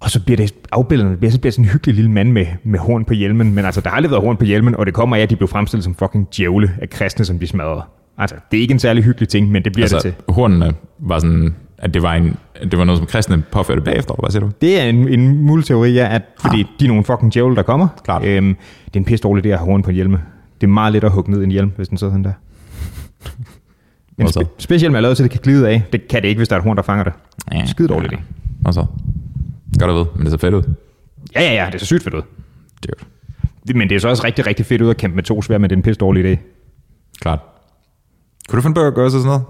S1: og så bliver det afbildet, det bliver, så bliver det sådan en hyggelig lille mand med, med horn på hjelmen, men altså, der har aldrig været horn på hjelmen, og det kommer af, at de blev fremstillet som fucking djævle af kristne, som de smadrer. Altså, det er ikke en særlig hyggelig ting, men det bliver altså, det
S2: Altså,
S1: til.
S2: hornene var sådan, at det var, en, at det var noget, som kristne påførte bagefter, hvad siger du?
S1: Det er en, en mulig teori, ja, at fordi ah. de er nogle fucking djævle, der kommer.
S2: Klart.
S1: Øhm, det er en pisse dårlig idé at have horn på en hjelme. Det er meget let at hugge ned en hjelm, hvis den sidder sådan der. En
S2: Hvorfor?
S1: spe- specielt er lavet til, at det kan glide af. Det kan det ikke, hvis der er et horn, der fanger det.
S2: Ja.
S1: Skide dårlig idé.
S2: Og så? Godt at vide, men det ser fedt ud.
S1: Ja, ja, ja, det er så sygt fedt ud.
S2: Dude.
S1: Det- Men det er så også rigtig, rigtig fedt ud at kæmpe med to svær, men det er en pisse dårlig idé.
S2: Klart. Kunne du finde på at gøre sådan noget?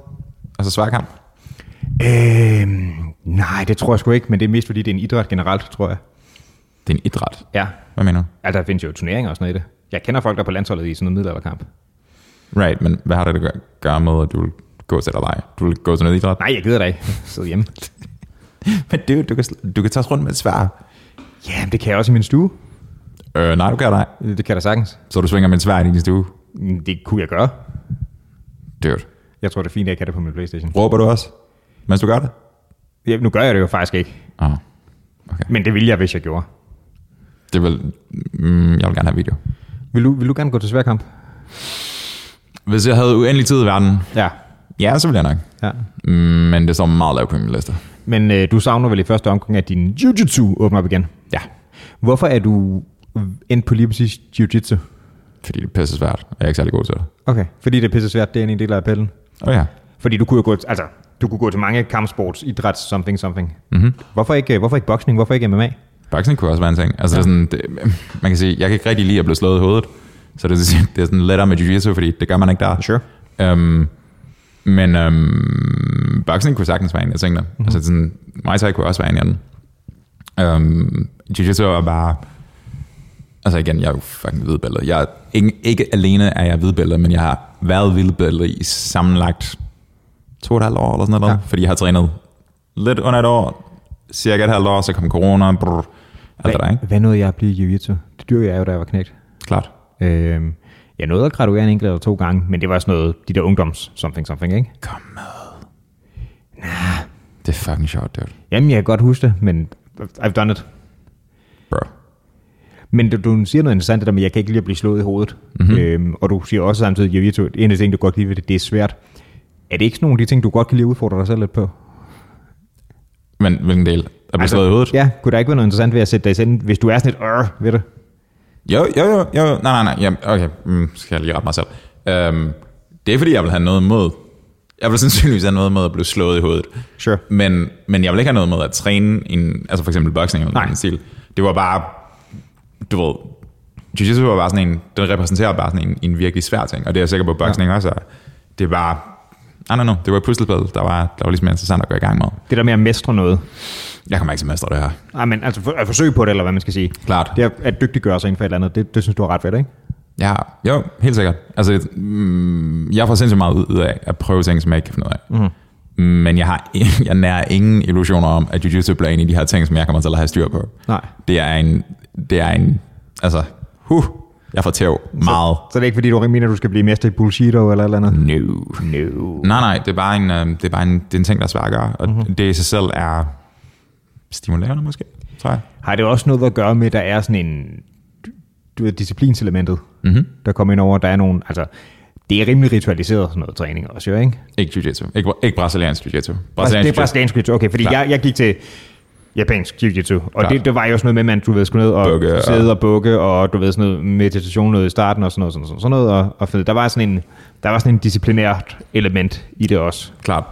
S2: Altså sværkamp?
S1: Øhm, nej, det tror jeg sgu ikke, men det er mest fordi, det er en idræt generelt, tror jeg.
S2: Det er en idræt.
S1: Ja.
S2: Hvad mener du?
S1: Altså, der findes jo turneringer og sådan noget i det. Jeg kender folk, der er på landsholdet i sådan noget middelalderkamp.
S2: Right, men hvad har det at gøre- gøre med, at du vil gå til dig lege? Du vil gå til noget idræt?
S1: Nej, jeg gider da ikke. Sid hjemme.
S2: Men dude, du kan, sl- du kan tage rundt med et svær.
S1: Ja, men det kan jeg også i min stue.
S2: Øh, nej, du kan dig.
S1: Det kan jeg da sagtens.
S2: Så du svinger med et svær i din stue.
S1: Det kunne jeg gøre.
S2: Dude.
S1: Jeg tror, det er fint, at jeg kan det på min Playstation.
S2: Råber du også, mens du gør det?
S1: Ja, nu gør jeg det jo faktisk ikke,
S2: Åh, oh, okay.
S1: men det ville jeg, hvis jeg gjorde.
S2: Det vil... Mm, jeg vil gerne have video.
S1: Vil du, vil du gerne gå til sværkamp?
S2: Hvis jeg havde uendelig tid i verden,
S1: Ja.
S2: ja, så ville jeg nok.
S1: ja.
S2: Mm, Men det står meget lavt på min liste.
S1: Men øh, du savner vel i første omgang, at din jiu-jitsu åbner op igen?
S2: Ja.
S1: Hvorfor er du endt på lige præcis jiu-jitsu?
S2: Fordi det er pisse svært, og jeg er ikke særlig god til det.
S1: Okay. Fordi det er pisse svært, det er en del af appellen.
S2: Åh oh, ja.
S1: Fordi du kunne jo gå, altså, du kunne gå til mange kampsports, idræts, something, something.
S2: Mhm.
S1: Mm-hmm. Hvorfor, ikke, hvorfor ikke boksning? Hvorfor ikke MMA?
S2: Boxing kunne også være en ting. Altså, ja. det er sådan, det, man kan sige, jeg kan ikke rigtig lide at blive slået i hovedet. Så det, det er sådan lettere med jiu-jitsu, fordi det gør man ikke der.
S1: Sure.
S2: Øhm, men øhm, boxing kunne sagtens være en af tingene. Mm-hmm. Altså sådan, Muay Thai kunne også være en af den. Øhm, jiu-jitsu er bare... Altså igen, jeg er jo fucking hvidbæltet. Jeg er ikke, ikke alene er jeg hvidbæltet, men jeg har været hvidbæltet i sammenlagt to og et halvt år eller sådan noget. Ja. Fordi jeg har trænet lidt under et år, cirka et halvt år, så kom corona, brrr, alt det der, ikke?
S1: Hvad nåede jeg at blive i jiu-jitsu? Det dyrkede jeg jo, da jeg var knægt.
S2: Klart.
S1: Øhm, jeg nåede at graduere en enkelt eller to gange, men det var sådan noget, de der ungdoms something something, ikke?
S2: Kom med. Nah. Det er fucking sjovt, dude.
S1: Jamen, jeg kan godt huske det, men I've done it.
S2: Bro.
S1: Men du, du siger noget interessant, det der med, at jeg kan ikke lide at blive slået i hovedet. Mm-hmm. Øhm, og du siger også samtidig, at jiu-jitsu, en af de ting, du godt kan lide ved det, det er svært. Er det ikke sådan nogle af de ting, du godt kan lide at udfordre dig selv lidt på?
S2: Men hvilken del? Er blevet slået i hovedet?
S1: Altså, Ja, kunne der ikke være noget interessant ved at sætte dig i senden, hvis du er sådan et ør ved det?
S2: Jo, jo, jo, jo. Nej, nej, nej. Jamen, okay, mm, skal jeg lige rette mig selv. Øhm, det er fordi, jeg vil have noget mod... Jeg vil sandsynligvis have noget mod at blive slået i hovedet.
S1: Sure.
S2: Men, men jeg vil ikke have noget med at træne en, altså for eksempel boksning eller
S1: Nej.
S2: sådan en stil. Det var bare, du ved, jiu-jitsu var bare sådan en, den repræsenterer bare sådan en, en virkelig svær ting, og det er jeg sikker på, at boksning ja. også er. Det var, I don't know, det var et puslespil, der var, der var ligesom interessant at gå i gang med.
S1: Det der med at mestre noget.
S2: Jeg kommer ikke til at mestre det her.
S1: Nej, men altså for, at forsøge på det, eller hvad man skal sige.
S2: Klart.
S1: Det er at dygtiggøre sig inden for et eller andet, det, det synes du er ret fedt, ikke?
S2: Ja, jo,
S1: Mhm.
S2: helt sikkert. Altså, mm, jeg får sindssygt meget ud af at prøve ting, som jeg ikke kan finde ud af. Mm. Men jeg har jeg nærer ingen illusioner om, at jujitsu bliver en af de her ting, som jeg kommer til at have styr på.
S1: Nej.
S2: Det er en, det er en, altså, huh, jeg får tæv meget.
S1: Så det er ikke fordi, du mener, du skal blive mester i bullshit eller et eller andet?
S2: No.
S1: No.
S2: Nej, nej, det er bare en, øh, det er bare en, det er en ting, der er svær at gøre, og
S1: Mhm.
S2: mm-hmm. det i sig selv er stimulerende måske, tror jeg.
S1: Har det også noget at gøre med, at der er sådan en du ved, disciplinselementet, mm-hmm. der kommer ind over, der er nogle, altså, det er rimelig ritualiseret sådan noget træning også, jo, ikke?
S2: Ikke jiu-jitsu. Ikke, ikke brasiliansk jiu-jitsu.
S1: Altså, det er
S2: jiu-jitsu.
S1: brasiliansk jiu-jitsu, okay, fordi
S2: Klar.
S1: jeg, jeg gik til japansk jiu-jitsu, og
S2: Klar.
S1: det, det, var jo sådan noget med, at man, du ved, skulle ned og
S2: Bukke
S1: bukke,
S2: og-
S1: sidde og bukke, og du ved, sådan noget meditation noget i starten, og sådan noget, sådan, sådan, sådan noget og, og fedt. Der var sådan en, der var sådan en disciplinært element i det også.
S2: Klart.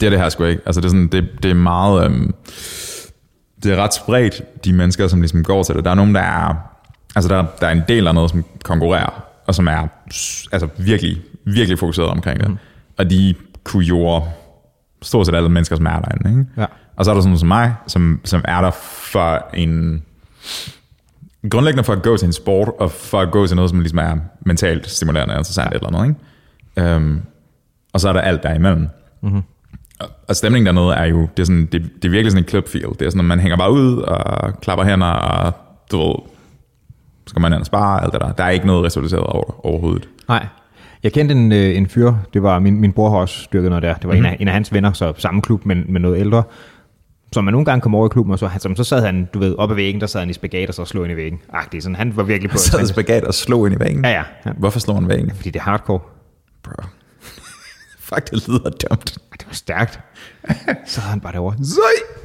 S2: Det er det her sgu ikke. Altså, det er, sådan, det, det er meget... Øhm, det er ret spredt, de mennesker, som ligesom går til det. Der er nogen, der er... Altså, der, der er en del af noget, som konkurrerer, og som er s- altså, virkelig, virkelig fokuseret omkring det. Mm. Og de kunne jo stort set alle mennesker, som er derinde. Ikke?
S1: Ja.
S2: Og så er der sådan nogen som mig, som, som er der for en... Grundlæggende for at gå til en sport, og for at gå til noget, som ligesom er mentalt stimulerende og interessant ja. eller noget. Ikke? Øhm, og så er der alt derimellem. Mm-hmm. Og, og stemningen dernede er jo, det er, sådan, det, det er virkelig sådan en club feel. Det er sådan, at man hænger bare ud og klapper hænder, og du ved, så går man ind og sparer, alt det der. Der er ikke noget resulteret over, overhovedet.
S1: Nej. Jeg kendte en, øh, en fyr, det var min, min bror har også dyrket noget der. Det var
S2: Mhm.
S1: mm-hmm. en, af, en af hans venner, så samme klub, men med noget ældre. Så man nogle gange kom over i klubben, og så, han, som, så sad han, du ved, op ad væggen, der sad han i spagat, og så slog han i væggen. Agtig, sådan, han var virkelig på.
S2: Så
S1: han-
S2: spagat og slå ind i væggen.
S1: Ja, ja, ja.
S2: Hvorfor slår han væggen?
S1: Fordi det er hardcore.
S2: Bro. Fuck, det lyder dumt.
S1: Ej, Det var stærkt. Så havde han bare derovre.
S2: Zøj!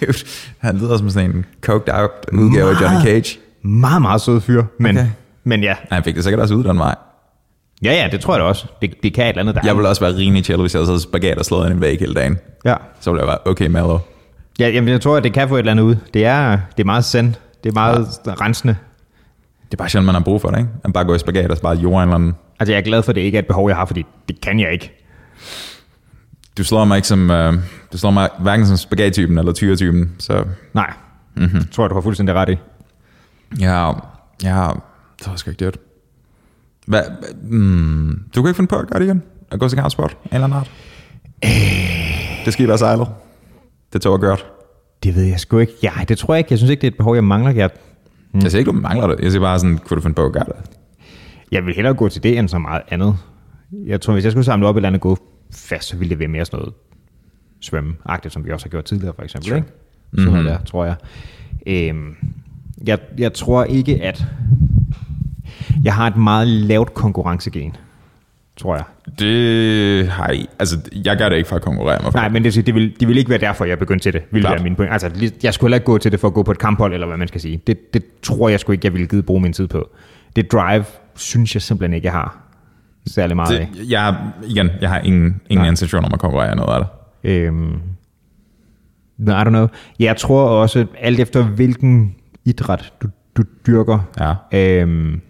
S2: Dude, han lyder som sådan en coked out udgave af
S1: Ah.
S2: Johnny Cage.
S1: Meget, meget sød fyr. Men,
S2: Okay.
S1: okay. men ja.
S2: Han fik det sikkert også ud den vej.
S1: ja, ja, det tror jeg da også. Det, det kan et eller andet, der er-
S2: Jeg ville også være rimelig chill, hvis jeg havde siddet spagat og slået ind i væg hele dagen.
S1: Ja.
S2: Så ville jeg være, okay, mellow.
S1: ja jamen, jeg tror, at det kan få et eller andet ud. Det er, det er meget send. Det er meget ja. rensende.
S2: Det er bare sjældent, man har brug for det, ikke? Man bare går i spagat og sparer jord eller anden.
S1: Altså, jeg er glad for, at det ikke er et behov, jeg har, fordi det kan jeg ikke.
S2: Du slår mig ikke som, øh, du slår mig hverken som spagat-typen eller tyretypen, så
S1: Nej. Mm-hmm. Tror jeg, du har fuldstændig ret i.
S2: jeg har, jeg har, det var sgu ikke dyrt. Hvad, hvad- hmm, du kan ikke finde på at gøre det igen? At gå til kampsport? En eller anden art?
S1: Øh.
S2: Det skal I være sejlet. Det tog jeg godt.
S1: Det ved jeg sgu ikke. Ja, det tror jeg ikke. Jeg synes ikke, det er et behov, jeg mangler. Jeg, Hmm.
S2: Jeg siger ikke, du mangler det. Jeg siger bare sådan, kunne du finde på at gøre det?
S1: jeg vil hellere gå til det, end så meget andet. Jeg tror, hvis jeg skulle samle op et eller andet gå fast, så ville det være mere sådan noget svømmeagtigt, som vi også har gjort tidligere, for eksempel. Ikke? Sådan mm-hmm. noget der, tror jeg. Øhm, jeg. Jeg tror ikke, at... Jeg har et meget lavt konkurrencegen, tror jeg.
S2: Det har I. Altså, jeg gør det ikke for at konkurrere mig. For.
S1: Nej, men det, vil sige, det, vil, det vil ikke være derfor, jeg begyndte til det, ville
S2: Klart.
S1: Klart. være min point. Altså, lige- jeg skulle heller ikke gå til det for at gå på et kamphold, eller hvad man skal sige. Det, det tror jeg sgu ikke, jeg ville gide bruge min tid på. Det drive, synes jeg simpelthen ikke, jeg har særlig meget det... af.
S2: det, Altså, jeg, igen, jeg har ingen, ingen
S1: Nej.
S2: intention om at konkurrere noget af det.
S1: Øhm, no, I don't know. Jeg tror også, alt efter hvilken idræt du, du dyrker,
S2: Ja.
S1: øhm,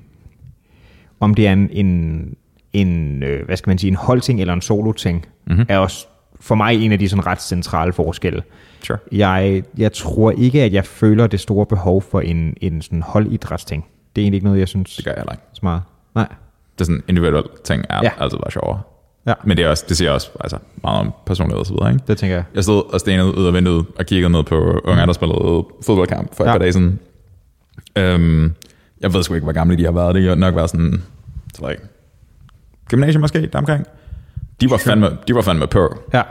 S1: om det er en, en, en øh, hvad skal man sige, en holdting eller en solo-ting, mm-hmm. er også for mig en af de sådan ret centrale forskelle.
S2: Sure.
S1: Jeg, jeg tror ikke, at jeg føler det store behov for en, en sådan holdidrætsting. Det er egentlig ikke noget, jeg synes
S2: Det gør jeg heller ikke.
S1: så meget. Nej.
S2: det er sådan en individuel ting, er ja.
S1: Ja.
S2: altid bare sjovere.
S1: Ja.
S2: Men det, er også, det siger også altså, meget om personlighed og så videre. Ikke?
S1: Det tænker jeg.
S2: Jeg stod og stenede ud af vinduet og kiggede ned på unge, der spillede fodboldkamp for ja. et par
S1: Ja.
S2: dage siden. Øhm, jeg ved sgu ikke, hvor gamle de har været. Det har nok været sådan, det ved jeg ikke, gymnasium måske, der omkring. De var, fandme, de var fandme på.
S1: Ja.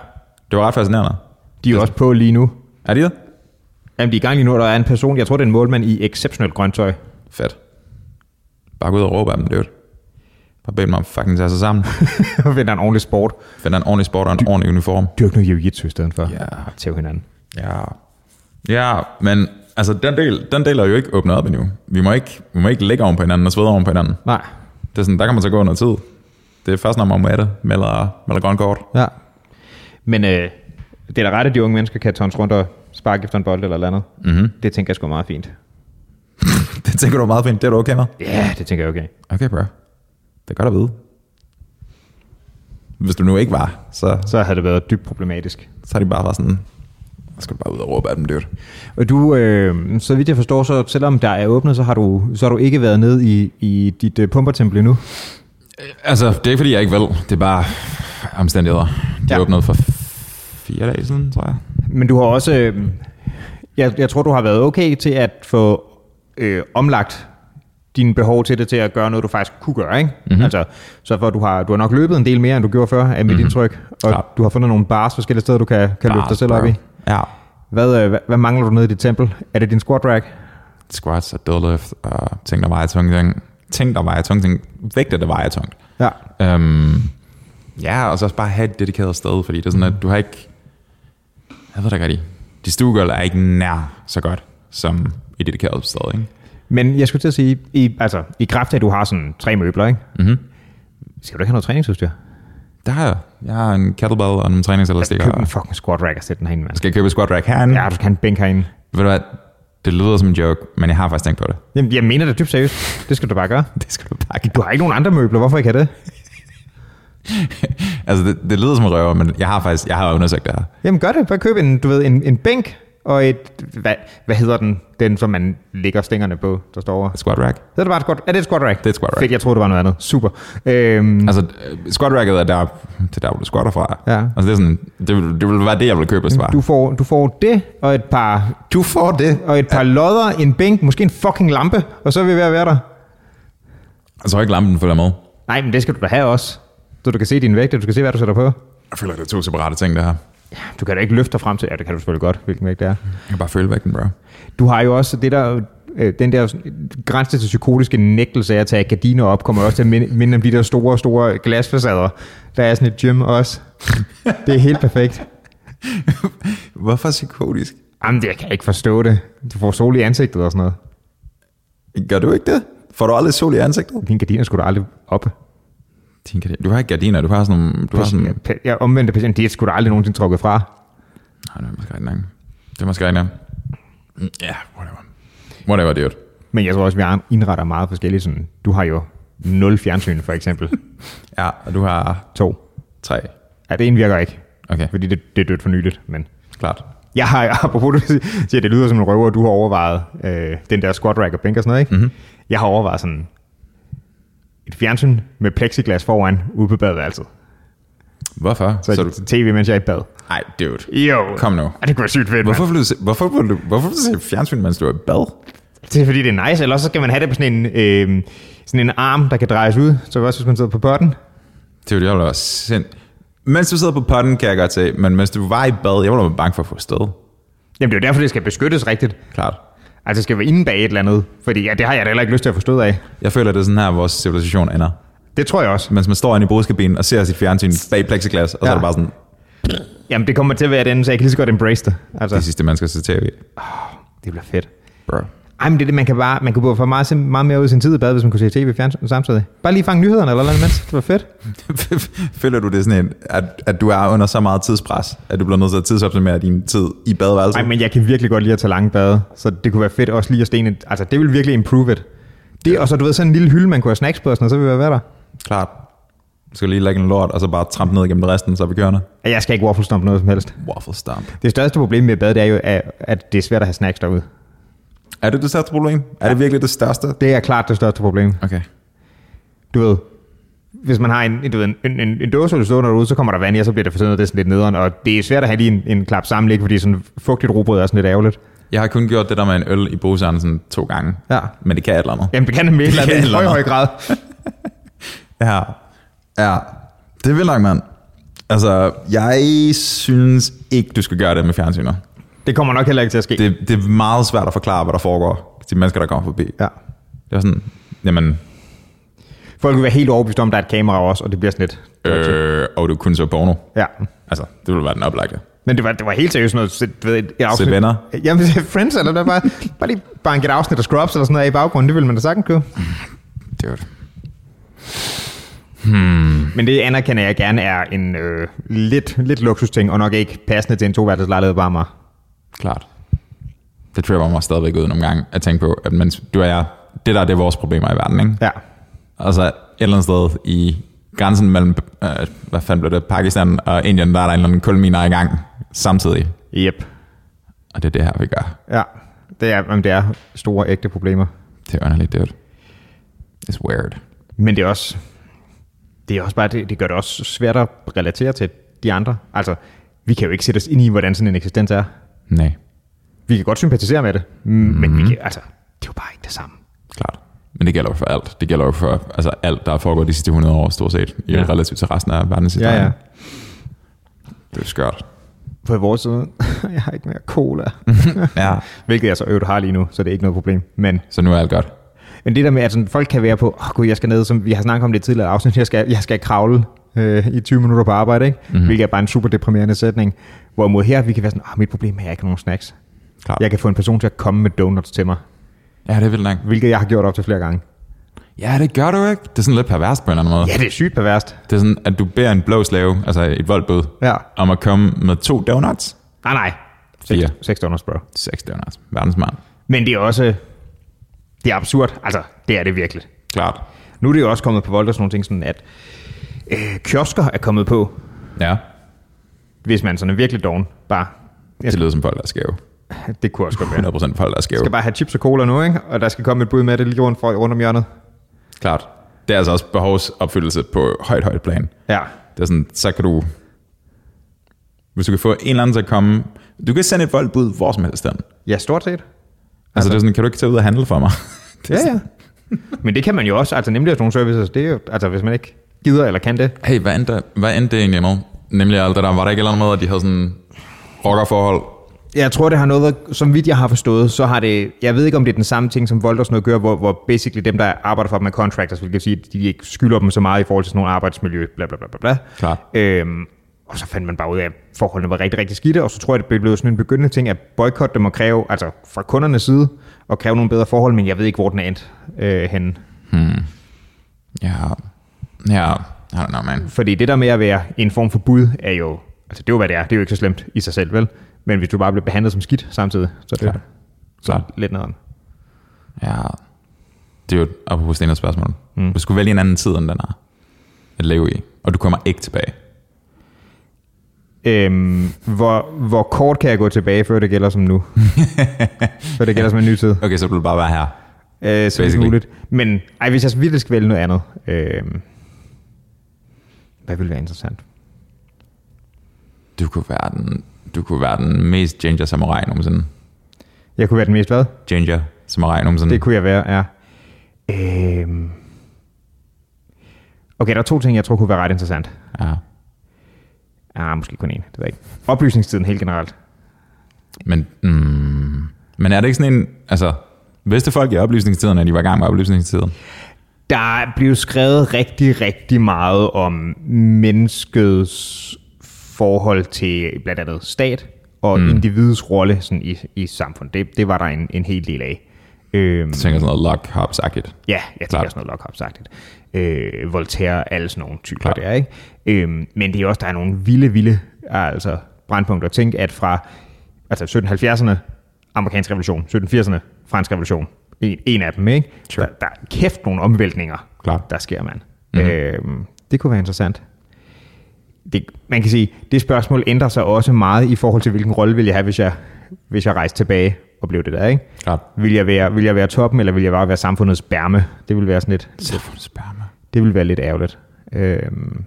S2: Det var ret fascinerende.
S1: De er jo også på lige nu.
S2: Er de det?
S1: Jamen, de er i gang lige nu, og der er en person, jeg tror, det er en målmand i exceptionelt grøntøj.
S2: Fedt. Bare gå ud og råbe af dem, det Bare bed dem om at fucking tage sig sammen.
S1: Og finder en ordentlig sport.
S2: Find en ordentlig sport og en ordentlig uniform.
S1: Dyrk noget jiu-jitsu i stedet for.
S2: Ja.
S1: Og tæv hinanden.
S2: Ja. Ja, men altså, den del, den del er jo ikke åbnet op endnu. Vi må ikke, vi må ikke ligge oven på hinanden og svede oven på hinanden.
S1: Nej.
S2: Det er sådan, der kan man så gå noget tid. Det er først, når man er det, melder, melder grøn kort.
S1: Ja. Men øh, det er da ret, at de unge mennesker kan tons rundt og sparke efter en bold eller noget andet.
S2: Mhm.
S1: Mm-hmm. Det tænker jeg sgu er meget fint.
S2: det tænker du er meget fint. Det er du okay med?
S1: Ja, det tænker jeg okay.
S2: Okay, bro. Det er godt at vide. Hvis du nu ikke var, så,
S1: Så havde det været dybt problematisk.
S2: så er de bare bare sådan, så skal du bare ud og råbe af dem, dyrt.
S1: Og du, øh, så vidt jeg forstår, så selvom der er åbnet, så har du, så har du ikke været ned i, i dit øh, pumpertempel endnu.
S2: Altså, det er ikke fordi, jeg ikke vil. Det er bare omstændigheder. De
S1: Ja.
S2: ja. åbnede for fire dage siden, tror jeg.
S1: Men du har også... Øh, jeg, jeg tror, du har været okay til at få øh, omlagt dine behov til det, til at gøre noget, du faktisk kunne gøre, ikke? Mm-hmm. Altså, så for du har, du har nok løbet en del mere, end du gjorde før, er mit mm-hmm. indtryk. Og
S2: Ja.
S1: du har fundet nogle bars forskellige steder, du kan, kan løfte dig selv op i.
S2: Ja.
S1: Hvad, øh, hvad, hvad mangler du nede i dit tempel? Er det din squat rack?
S2: Squats og deadlift og ting, der vejer tungt. Ting, ting der vejer tungt. Ting, vægter, der vejer tungt.
S1: Ja.
S2: Øhm, ja, og så også bare have et dedikeret sted, fordi det er
S1: Mm.
S2: sådan, at du har ikke... Jeg ved da godt i. De stuegulv er ikke nær så godt som et dedikeret sted, ikke?
S1: Men jeg skulle til at sige, i, altså, i kraft af, at du har sådan tre møbler, ikke?
S2: Mhm. Altså,
S1: Skal du ikke have noget træningsudstyr?
S2: Der har jeg. Jeg har en kettlebell og nogle træningselastikker.
S1: Altså, Køb en
S2: Jeg
S1: fucking squat rack og sæt den herinde, mand.
S2: skal jeg købe et squat rack herinde.
S1: Ja, du kan en bænk herinde.
S2: Ved du hvad, det lyder som en joke, men jeg har faktisk tænkt på det.
S1: Jamen, jeg mener det dybt seriøst. Det skal du bare gøre.
S2: Det skal du bare
S1: Du har ikke nogen andre møbler, hvorfor ikke have det?
S2: Altså, det, det lyder som en røver, men jeg har faktisk jeg har undersøgt det her.
S1: Jamen gør det, bare køb en, du ved, en, en bænk og et, hvad, hvad hedder den, den som man lægger stængerne på, der står over.
S2: Et Squat rack.
S1: Hedder det bare et squat, er det et squat rack?
S2: Det er et squat rack.
S1: Fedt, jeg troede, det var noget andet. Super. Øhm, altså,
S2: Altså, øh, squat racket er der, det er der, hvor du squatter fra.
S1: Ja.
S2: Altså, det er sådan, det, vil- det ville være det, jeg ville købe, hvis det var.
S1: du, får, du får det og et par,
S2: du får det.
S1: og et par lodder, en bænk, måske en fucking lampe, og så er vi ved at være der.
S2: Og så har ikke lampen følger med.
S1: Nej, men det skal du da have også. Så du kan se din vægt, og du kan se, hvad du sætter på.
S2: Jeg føler, det er to separate ting, det her.
S1: Du kan da ikke løfte dig frem til, ja, det kan du selvfølgelig godt, hvilken vægt det er.
S2: Jeg kan bare føle vægten, bro.
S1: Du har jo også det der, øh, den der grænse til psykotiske nægtelse af at tage gardiner op, kommer også til at minde, minde om de der store, store glasfacader. Der er sådan et gym også. Det er helt perfekt.
S2: Hvorfor psykotisk?
S1: Jamen, det jeg kan ikke forstå det. Du får sol i ansigtet og sådan noget.
S2: Gør du ikke det? Får du aldrig sol i ansigtet?
S1: Dine gardiner skulle da aldrig op.
S2: Din gardiner- Du har ikke gardiner, du har sådan nogle... Du har sådan,
S1: Pe- Jeg omvendte patient, det skulle da aldrig nogensinde trukket fra.
S2: Nej, det er måske ikke nok. Det er måske ikke nok. Mm, Ja, yeah, whatever. Whatever, dude.
S1: Men jeg tror også, vi har- indretter meget forskelligt. Sådan. Du har jo nul fjernsyn, for eksempel.
S2: Ja, og du har
S1: To.
S2: tre.
S1: Ja, det ene virker ikke,
S2: Okay,
S1: fordi det, det er dødt for nyligt, men...
S2: klart.
S1: Jeg har, apropos du siger, det lyder som en røver, du har overvejet øh, den der squat rack og bænk og sådan noget, ikke?
S2: Mhm.
S1: Mm-hmm. Jeg har overvejet sådan et fjernsyn med plexiglas foran ude på badeværelset.
S2: Hvorfor?
S1: Så, så
S2: du...
S1: du... tv, mens jeg er i bad.
S2: Ej, dude.
S1: Jo.
S2: Kom nu.
S1: Ej, det kunne være sygt fedt,
S2: Hvorfor
S1: Hvorfor?
S2: vil du se, hvorfor vil du, hvorfor vil du se fjernsyn, mens du er i bad?
S1: Det er fordi, det er nice, eller også så skal man have det på sådan en, øh, sådan en arm, der kan drejes ud, så også hvis man sidder på potten.
S2: Det er jo det, jeg ville være sind. Mens du sidder på potten, kan jeg godt se, men mens du var i bad, jeg var da bange for at få sted.
S1: Jamen, det er jo derfor, det skal beskyttes rigtigt.
S2: Klart.
S1: Altså, det skal være inde bag et eller andet, fordi ja, det har jeg da heller ikke lyst til at forstå af.
S2: Jeg føler, det er sådan her, vores civilisation ender.
S1: Det tror jeg også.
S2: Mens man står inde i bruskabinen og ser sit fjernsyn bag plexiglas, og ja. så
S1: Ja.
S2: er det bare sådan,
S1: Jamen, det kommer til at være den, så jeg kan lige så godt embrace det. Altså,
S2: de sidste mennesker ser tv.
S1: det bliver fedt.
S2: Bro.
S1: Ej, men det er det, man kan bare, man kunne få for meget, sim- meget mere ud af sin tid i bad, hvis man kunne se tv og fjernsyn samtidig. Bare lige fange nyhederne eller noget, mens. Det var fedt.
S2: føler du det er sådan en, at, at du er under så meget tidspres, at du bliver nødt til at tidsoptimere din tid i badeværelset?
S1: Nej, men jeg kan virkelig godt lide at tage lange bade, så det kunne være fedt også lige at stene. Altså, det ville virkelig improve it. Det, og så du ved, sådan en lille hylde, man kunne have snacks på, og sådan, noget, så ville jeg være der.
S2: Klart. Du skal lige lægge en lort, og så bare trampe ned gennem resten, så er vi kørende.
S1: Og Jeg skal ikke waffle stomp noget som helst.
S2: Waffle stamp.
S1: Det største problem med at bade, det er jo, at- at det er svært at have snacks derude.
S2: Er det det største problem? Er det virkelig det største?
S1: Det er klart det største problem.
S2: Okay.
S1: Du ved, hvis man har en, en, du ved, en, en, en, en dåse, der står derude, så kommer der vand i, og så bliver det forsindet, og det er sådan lidt nederen. Og det er svært at have lige en, en klap sammenlæg, fordi sådan fugtigt robrød er sådan lidt ærgerligt.
S2: Jeg har kun gjort det der med en øl i bruseren sådan to gange.
S1: Ja.
S2: Men det kan et eller andet.
S1: Jamen, det kan det med et eller
S2: Det kan
S1: andet i
S2: et eller
S1: høj,
S2: andet.
S1: høj grad.
S2: Ja. Ja. Det er vildt nok, mand. Altså, jeg synes ikke, du skal gøre det med fjernsynet.
S1: Det kommer nok heller ikke til at ske. Det.
S2: Det, det er meget svært at forklare, hvad der foregår til de mennesker, der kommer forbi.
S1: Ja.
S2: Det er sådan, jamen,
S1: Folk vil være helt overbevist om, at der er et kamera også, og det bliver sådan lidt...
S2: øh, og du kun så porno.
S1: Ja.
S2: Altså, det ville være den oplagte.
S1: Men det var, det var helt seriøst noget, så, du ved, et afsnit.
S2: Se venner.
S1: Jamen, det er Friends, eller der bare, bare lige bare et afsnit af Scrubs eller sådan noget i baggrunden, det ville man da sagtens købe.
S2: Dude.
S1: Men det anerkender jeg gerne er en øh, lidt, lidt luksusting, og nok ikke passende til en toværelseslejlighed bare mig.
S2: Klart. Det tripper mig stadigvæk ud nogle gange at tænke på, at mens du og jeg, det der, det er vores problemer i verden, ikke?
S1: Ja.
S2: Altså et eller andet sted i grænsen mellem, øh, hvad fanden blev det, Pakistan og Indien, der er der en eller anden kulminer i gang samtidig.
S1: Yep.
S2: Og det er det her, vi gør.
S1: Ja. Det er, jamen, det er store ægte problemer.
S2: Det er underligt, det er It's weird.
S1: Men det er også... det er også bare, det, det gør det også svært at relatere til de andre. Altså, vi kan jo ikke sætte os ind i, hvordan sådan en eksistens er.
S2: Nej,
S1: Vi kan godt sympatisere med det, mm-hmm. men vi kan, altså, det er jo bare ikke det samme.
S2: klart. Men det gælder jo for alt. Det gælder jo for altså alt, der er foregået de sidste 100 år, stort set, i
S1: Ja.
S2: ja. relativt til resten af verdens
S1: Ja,
S2: historie.
S1: ja.
S2: Det er jo skørt.
S1: På vores side, jeg har ikke mere cola.
S2: ja.
S1: Hvilket jeg så øvrigt har lige nu, så det er ikke noget problem. Men,
S2: Så nu er alt godt.
S1: men det der med, at sådan, folk kan være på, åh oh, gud, jeg skal ned, som vi har snakket om det i tidligere afsnit, jeg skal, jeg skal kravle øh, i 20 minutter på arbejde, ikke? Mm-hmm. hvilket er bare en super deprimerende sætning. Hvorimod her, vi kan være sådan, ah, mit problem er, at jeg ikke har nogen snacks.
S2: Klart.
S1: Jeg kan få en person til at komme med donuts til mig,
S2: Ja, det er vildt langt.
S1: hvilket jeg har gjort op til flere gange.
S2: Ja, det gør du ikke. Det er sådan lidt perverst på en eller anden måde.
S1: Ja, det er sygt perverst.
S2: Det er sådan, at du beder en blå slave, altså et voldbød,
S1: Ja.
S2: om at komme med to donuts.
S1: Nej, nej.
S2: Fire.
S1: Seks, seks donuts, bro.
S2: Seks donuts. Verdensmand.
S1: Men det er også, det er absurd. Altså, det er det virkelig.
S2: Klart.
S1: Nu er det jo også kommet på vold og sådan nogle ting, sådan at øh, kiosker er kommet på,
S2: Ja,
S1: hvis man sådan er virkelig doven. Bare, jeg,
S2: det lyder som folk, der er skæve.
S1: det kunne også godt være.
S2: 100% folk, der er skæve.
S1: Jeg skal bare have chips og cola nu, ikke? Og der skal komme et bud med det lige rundt, for, rundt om hjørnet.
S2: Klart. Det er altså også behovsopfyldelse på højt, højt plan.
S1: Ja.
S2: Det er sådan, så kan du... Hvis du kan få en eller anden til at komme... Du kan sende et voldbud hvor som helst den. Altså,
S1: Ja, stort set.
S2: altså, det er sådan, kan du ikke tage ud og handle for mig? Det er
S1: Ja,
S2: sådan,
S1: ja. Men det kan man jo også, altså nemlig at nogle services, det er jo, altså hvis man ikke gider eller kan det.
S2: Hey, hvad endte, hvad endte det egentlig med? Nemlig alt det der, var der ikke et eller andet med, at de havde sådan rockerforhold?
S1: Jeg tror, det har noget, som vidt jeg har forstået, så har det, jeg ved ikke, om det er den samme ting, som Volters noget gør, hvor, hvor basically dem, der arbejder for dem er contractors, hvilket vil sige, at de ikke skylder dem så meget i forhold til sådan nogle arbejdsmiljø, bla bla bla bla bla.
S2: Klart.
S1: Øhm, og så fandt man bare ud af, at forholdene var rigtig, rigtig skidte, og så tror jeg, det blev sådan en begyndende ting at boykotte dem og kræve, altså fra kundernes side, og kræve nogle bedre forhold, men jeg ved ikke, hvor den er endt øh, henne.
S2: Ja, ja, I don't know, man.
S1: Fordi det der med at være en form for bud, er jo, altså det er jo, hvad det er, det er jo ikke så slemt i sig selv, vel? Men hvis du bare bliver behandlet som skidt samtidig, så er det
S2: Klart.
S1: så
S2: Klart.
S1: lidt nederen.
S2: Ja, det er jo apropos Stenas spørgsmål. Mm. Hvis du skulle vælge en anden tid, end den er at leve i, og du kommer ikke tilbage.
S1: Øhm, hvor, hvor kort kan jeg gå tilbage, før det gælder som nu? før det gælder som en ny tid?
S2: Okay, så vil du bare være her.
S1: Øh, så vidt
S2: Basically.
S1: muligt. Men ej, hvis jeg virkelig skal vælge noget andet, øhm, hvad ville være interessant?
S2: Du kunne være den, du kunne være den mest ginger samurai nogensinde.
S1: Jeg kunne være den mest hvad? Mm.
S2: Ginger samurai nogensinde.
S1: Det kunne jeg være, ja. Øhm, okay, der er to ting, jeg tror kunne være ret interessant.
S2: Ja.
S1: Ah, måske kun en, det ved jeg ikke. Oplysningstiden helt generelt.
S2: Men, mm, men er det ikke sådan en... Altså, vidste folk i oplysningstiden, at de var i gang med oplysningstiden?
S1: Der blev skrevet rigtig, rigtig meget om menneskets forhold til blandt andet stat og mm. individets rolle sådan i, i samfundet. Det, det var der en, en hel del af. Øhm,
S2: Jeg tænker sådan noget Locke, Hobbes, Agit.
S1: ja, jeg tænker
S2: Klart.
S1: sådan noget Lockhart-sagtigt. Øh, Voltaire, alle sådan nogle typer
S2: Klart.
S1: der, ikke? Øhm, men det er også, der er nogle vilde, vilde altså, brandpunkter. Tænk, at fra altså 1770'erne, amerikansk revolution, 1780'erne, fransk revolution, en, en af dem, ikke?
S2: Sure.
S1: Der, der er kæft nogle omvæltninger,
S2: Klart. Mhm.
S1: der sker, mand. Mm-hmm. Øhm, det kunne være interessant. Det, man kan sige, det spørgsmål ændrer sig også meget i forhold til, hvilken rolle vil jeg have, hvis jeg, hvis jeg rejste tilbage og blev det der, ikke?
S2: Klart.
S1: Vil jeg være, vil jeg være toppen, eller vil jeg bare være samfundets bærme? Det vil være sådan lidt,
S2: Samfundsperme.
S1: det vil være lidt ærgerligt. Øhm,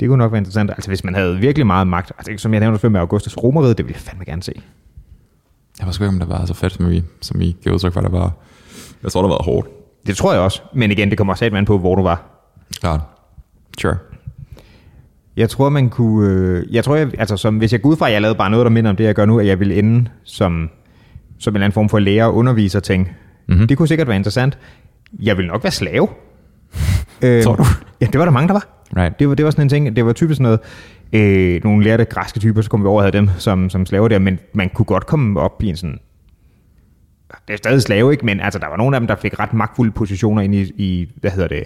S1: det kunne nok være interessant. Altså hvis man havde virkelig meget magt, altså som jeg nævnte før med Augustus Romeriet, det ville jeg fandme gerne se.
S2: Jeg var sgu ikke, om det var så fedt, som vi, som I gav udtryk for, det var... Jeg tror, det var hårdt.
S1: Det tror jeg også, men igen, det kommer også an på, hvor du var.
S2: Klart. Sure.
S1: Jeg tror, man kunne... Øh, jeg tror, jeg, altså, som, hvis jeg går ud fra, at jeg lavede bare noget, der minder om det, jeg gør nu, at jeg ville ende som, som en eller anden form for lærer og underviser ting.
S2: Mhm.
S1: Mm-hmm. Det kunne sikkert være interessant. Jeg ville nok være slave. øh,
S2: Tror du?
S1: Ja, det var der mange, der var.
S2: Right.
S1: Det var, det var sådan en ting, det var typisk sådan noget, øh, nogle lærte græske typer, så kom vi over og havde dem som, som slaver der, men man kunne godt komme op i en sådan, det er stadig slave, ikke? Men altså, der var nogle af dem, der fik ret magtfulde positioner ind i, i hvad hedder det,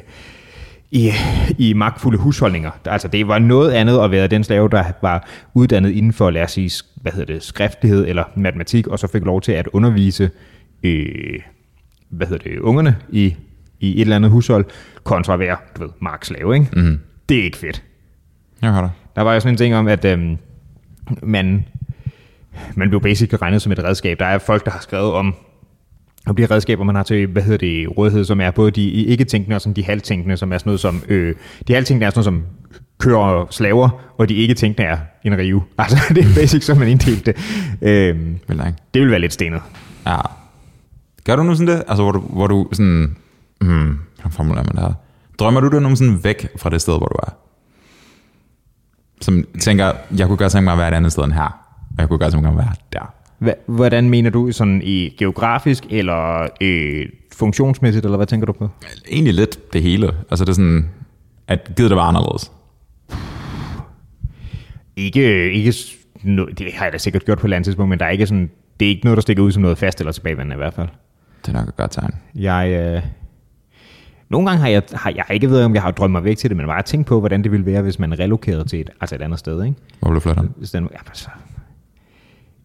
S1: i, i magtfulde husholdninger. Altså, det var noget andet at være den slave, der var uddannet inden for, lad os sige, sk- hvad hedder det, skriftlighed eller matematik, og så fik lov til at undervise, øh, hvad hedder det, ungerne i, i et eller andet hushold, kontra at være, du ved, markslave, ikke? Mm. Det er ikke fedt.
S2: Jeg hører dig.
S1: Der var jo sådan en ting om, at øhm, man, man blev basically regnet som et redskab. Der er folk, der har skrevet om om de redskaber, man har til, hvad hedder det, rådighed, som er både de ikke-tænkende og sådan de halvtænkende, som er sådan noget som, øh, de halvtænkende er sådan noget som kører slaver, og de ikke-tænkende er en rive. Altså, det er basic, som man inddelte det. Øhm,
S2: Vel nej.
S1: det vil være lidt stenet.
S2: Ja. Gør du nu sådan det? Altså, hvor du, hvor du sådan... Hmm, hvordan formulerer man det her? Drømmer du dig nogensinde væk fra det sted, hvor du er? Som tænker, jeg kunne godt tænke mig at være et andet sted end her. Og jeg kunne godt tænke mig at være der.
S1: Hva- Hvordan mener du sådan i geografisk eller øh, funktionsmæssigt, eller hvad tænker du på?
S2: Egentlig lidt det hele. Altså, det er sådan... At gider det være anderledes.
S1: Ikke, ikke s- no, det har jeg da sikkert gjort på et eller andet tidspunkt, men der er ikke sådan, det er ikke noget, der stikker ud som noget fast eller tilbagevendende i hvert fald.
S2: Det er nok et godt tegn.
S1: Jeg, øh, nogle gange har jeg, har jeg ikke ved, om jeg har drømt mig væk til det, men bare tænkt på, hvordan det ville være, hvis man relokerede til et, altså et andet sted. Ikke?
S2: Hvor blev flyttet?
S1: Hvis, den, ja, altså,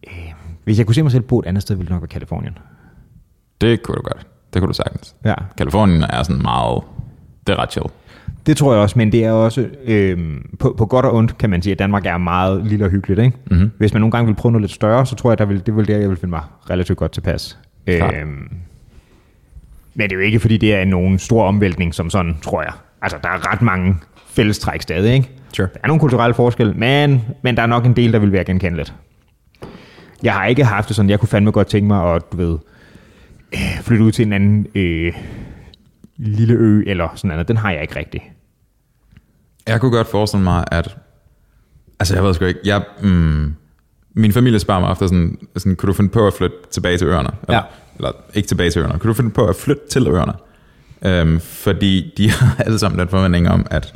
S1: øh, hvis jeg kunne se mig selv bo et andet sted, ville det nok være Kalifornien.
S2: Det kunne du godt. Det kunne du sagtens.
S1: Ja.
S2: Kalifornien er sådan meget... Det er ret chill.
S1: Det tror jeg også, men det er også, øh, på, på godt og ondt kan man sige, at Danmark er meget lille og hyggeligt. Ikke? Mm-hmm. Hvis man nogle gange vil prøve noget lidt større, så tror jeg, der vil, det vil der, jeg vil finde mig relativt godt tilpas. Øh,
S2: Klart.
S1: men det er jo ikke, fordi det er nogen stor omvæltning som sådan, tror jeg. Altså, der er ret mange fællestræk stadig, ikke?
S2: Sure.
S1: Der er nogle kulturelle forskelle, men, men der er nok en del, der vil være genkendeligt. Jeg har ikke haft det sådan, jeg kunne fandme godt tænke mig at, du ved, øh, flytte ud til en anden øh, lille ø eller sådan noget. Den har jeg ikke rigtig.
S2: Jeg kunne godt forestille mig, at... Altså, jeg ved sgu ikke. Jeg, mm, min familie spørger mig ofte sådan, sådan, kunne du finde på at flytte tilbage til øerne? Eller,
S1: Ja.
S2: eller ikke tilbage til øerne. Kunne du finde på at flytte til øerne? Øhm, fordi de har alle sammen den forventning om, at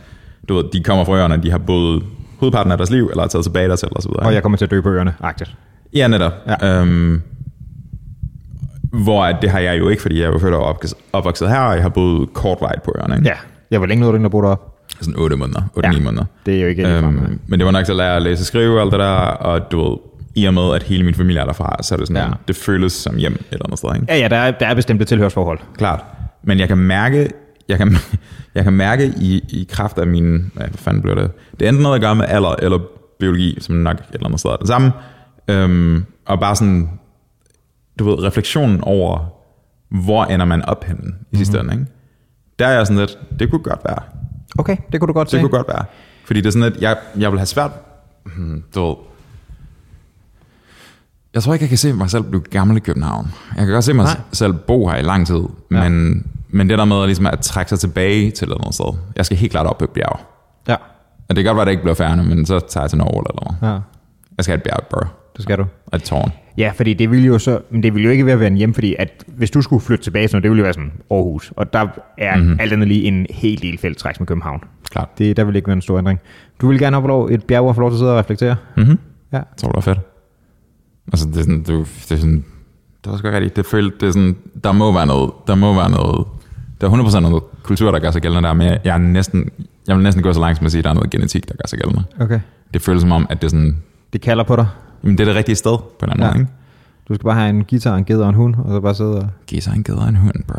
S2: du ved, de kommer fra øerne, de har boet hovedparten af deres liv, eller er taget tilbage dertil, og så videre.
S1: Og jeg kommer til at dø på øerne, agtigt.
S2: Ja, netop.
S1: Ja.
S2: Ja. Øhm, hvor at det har jeg jo ikke, fordi jeg er jo født og opvokset- opvokset her, og jeg har bovet kortvarigt på øerne. Ikke?
S1: Ja. Jeg var længe noget, der boede op.
S2: Sådan 8 måneder, 8-9
S1: Ja.
S2: måneder.
S1: Det er jo ikke
S2: Øhm, men det var nok til at lære at læse og skrive og alt det der, og du ved, i og med, at hele min familie er derfra, så er det sådan,
S1: Ja.
S2: ja. det føles som hjem et eller andet sted, ikke?
S1: Ja, ja, der er, der er bestemte tilhørsforhold.
S2: Klart. Men jeg kan mærke, jeg kan, jeg kan mærke i, i kraft af min... Hvad fanden blev det? Det er enten noget at gøre med alder eller biologi, som nok et eller andet sted er det samme. Øhm, og bare sådan, du ved, refleksionen over, hvor ender man op henne i sidste
S1: Mhm.
S2: ende, ikke? Der er jeg sådan lidt, det kunne godt være.
S1: Okay, det kunne du godt
S2: Det
S1: se.
S2: kunne godt være. Fordi det er sådan, at jeg, jeg vil have svært... Hmm, Du ved, jeg tror ikke, jeg kan se mig selv blive gammel i København. Jeg kan godt se mig
S1: Nej.
S2: Nej. selv bo her i lang tid,
S1: Ja.
S2: ja. men, men det der med at, ligesom at trække sig tilbage til et eller andet sted. Jeg skal helt klart op på et bjerg.
S1: Ja.
S2: Og det kan godt være, at det ikke bliver færdig, men så tager jeg til Norge eller noget.
S1: ja,
S2: Jeg skal have et bjerg, bro.
S1: det skal du.
S2: Og et tårn.
S1: Ja, fordi det ville jo så, men det ville jo ikke være at være en hjem, fordi at hvis du skulle flytte tilbage, så det ville jo være sådan Aarhus, og der er mm-hmm. alt andet lige en hel del fællestræk med København.
S2: Klart.
S1: Det, der vil ikke være en stor ændring. Du vil gerne op over et bjerg og få lov til at sidde og reflektere?
S2: Mm-hmm.
S1: Ja.
S2: Jeg tror, det var fedt. Altså, det er sådan, det, er- det er sådan, det var sgu ikke rigtigt. Det følte, det er sådan, der må være noget, der må være noget, der er 100% noget kultur, der gør sig gældende der, men jeg, jeg, er næsten, jeg vil næsten gå så langt som at sige, at der er noget genetik, der gør sig gældende.
S1: Okay.
S2: Det føles som om, at det er sådan,
S1: Det kalder på dig.
S2: jamen, det er det rigtige sted, på en eller anden
S1: Ja.
S2: ja. måde, ikke?
S1: Du skal bare have en guitar, en ged og en hund, og så bare sidde og...
S2: Giv sig en gæder og en hund, bro.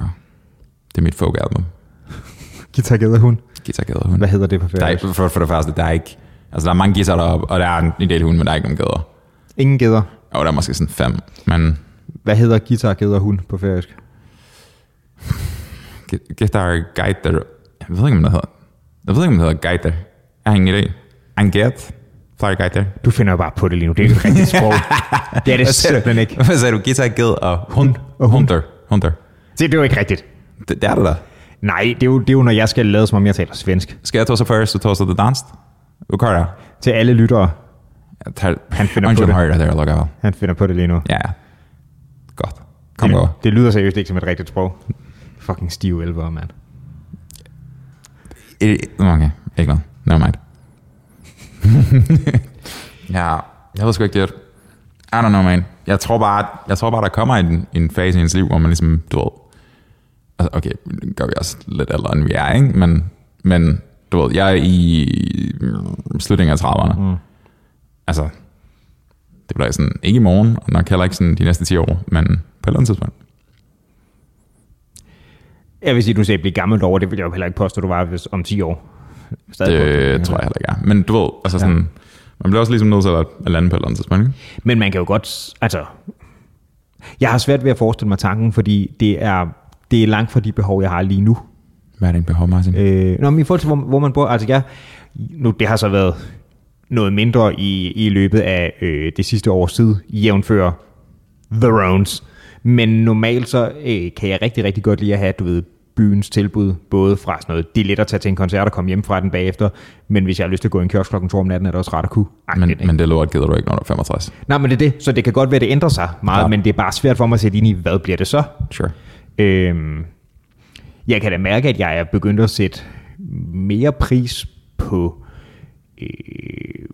S2: Det er mit folk album.
S1: Guitar, ged og hund.
S2: Giv sig gæder og hund.
S1: Hvad hedder det på
S2: Der er
S1: færdig?
S2: ikke, for, for det første, der er ikke, altså der er mange gisser deroppe, og der er en, en del hunde, men der er ikke nogen gæder.
S1: Ingen geder.
S2: Og der er måske sådan fem, men
S1: Hvad hedder guitar, ged og hund på færøsk?
S2: Guitar Guide der. Jeg ved ikke, om det hedder. Jeg ved ikke, om det hedder Guide der. Jeg har ingen idé. En Guide? Flyer Guide der.
S1: Du finder jo bare på det lige nu. Det er ikke et rigtigt sprog. det er det simpelthen ikke.
S2: Hvad sagde du? Guitar Guide og Hund.
S1: Og
S2: Og
S1: hund.
S2: Hunter. Hunter.
S1: Se, det er jo ikke rigtigt.
S2: Det, det er det da.
S1: Nej, det er, jo, det er jo, når jeg skal lade, som om jeg taler svensk.
S2: Skal jeg tage så først, så tager så det dansk? Du kan det.
S1: Til alle lyttere,
S2: Jeg tager...
S1: Han finder
S2: Ungdom
S1: på det.
S2: højre der, lukker af.
S1: han finder på det lige nu.
S2: Ja, ja. Godt. Kom
S1: det,
S2: over.
S1: det lyder seriøst ikke som et rigtigt sprog. Fucking stiv elver, mand.
S2: Øh, Okay, ikke noget. Never mind. ja, jeg ved sgu ikke det. I don't know, man. Jeg tror bare, jeg tror bare der kommer en, en fase i ens liv, hvor man ligesom, du ved, altså, okay, nu gør vi også lidt ældre, end vi er, ikke? Men, men du ved, jeg er i mm, slutningen af 30'erne. Mm. Altså, det bliver sådan, ikke i morgen, og nok heller ikke sådan de næste 10 år, men på et eller andet tidspunkt.
S1: Jeg vil sige, du sagde blive gammel over. Det vil jeg jo heller ikke påstå, du var hvis, om 10 år. Stadig på
S2: Det tror jeg heller ikke er. Men du ved, altså sådan, man bliver også ligesom nødt til at, at lande på et eller andet tidspunkt, ikke?
S1: Men man kan jo godt... Altså, Jeg har svært ved at forestille mig tanken, fordi det er, det er langt fra de behov, jeg har lige nu.
S2: Hvad er det en behov, Martin?
S1: Øh, nå, men i forhold til, hvor, hvor man bor, altså jeg, nu det har så været noget mindre i, i løbet af øh, det sidste års tid, jævnfører The Rounds. Men normalt så øh, kan jeg rigtig, rigtig godt lide at have, du ved, byens tilbud, både fra sådan noget, det er let at tage til en koncert og komme hjem fra den bagefter, men hvis jeg har lyst til at gå i en kiosk klokken 2 om natten, er det også rart at kunne. Ej,
S2: Men,
S1: den, ikke?
S2: men det lort gider du ikke, når du er 65.
S1: Nej, men det er det, så det kan godt være, det ændrer sig meget,
S2: Ja.
S1: ja. men det er bare svært for mig at sætte ind i, hvad bliver det så?
S2: Sure.
S1: Øhm, jeg kan da mærke, at jeg er begyndt at sætte mere pris på øh,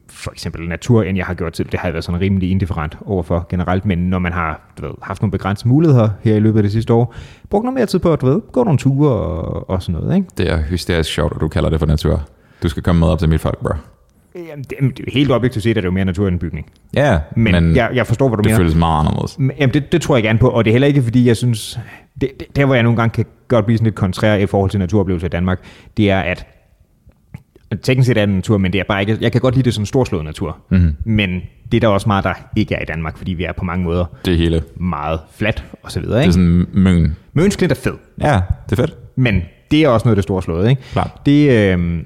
S1: for eksempel natur, end jeg har gjort til. Det har jeg været sådan rimelig indifferent overfor generelt, men når man har du ved, haft nogle begrænsede muligheder her i løbet af det sidste år, brugt noget mere tid på at du ved, gå nogle ture og, og sådan noget. Ikke?
S2: Det er hysterisk sjovt, at du kalder det for natur. Du skal komme med op til mit folk, bro.
S1: Jamen, det, det, er helt objektivt set er det jo mere natur end en bygning.
S2: Ja, yeah,
S1: Men, men jeg,
S2: jeg,
S1: jeg forstår, hvad du
S2: det
S1: mener.
S2: føles meget anderledes.
S1: Men, Jamen, det, det tror jeg gerne på, og det er heller ikke, fordi jeg synes... Det, det, der, hvor jeg nogle gange kan godt blive sådan lidt kontrær i forhold til naturoplevelser i Danmark, det er, at teknisk set er det natur, men det er bare ikke... Jeg kan godt lide det sådan storslået natur,
S2: Mhm.
S1: mm-hmm. men det er der også meget, der ikke er i Danmark, fordi vi er på mange måder
S2: Det hele. Det
S1: meget flat og så videre,
S2: er
S1: ikke?
S2: sådan møn.
S1: Mønsklint er fed,
S2: Ja, det er fedt.
S1: men det er også noget, det storslået, ikke?
S2: Klart.
S1: Det, øh,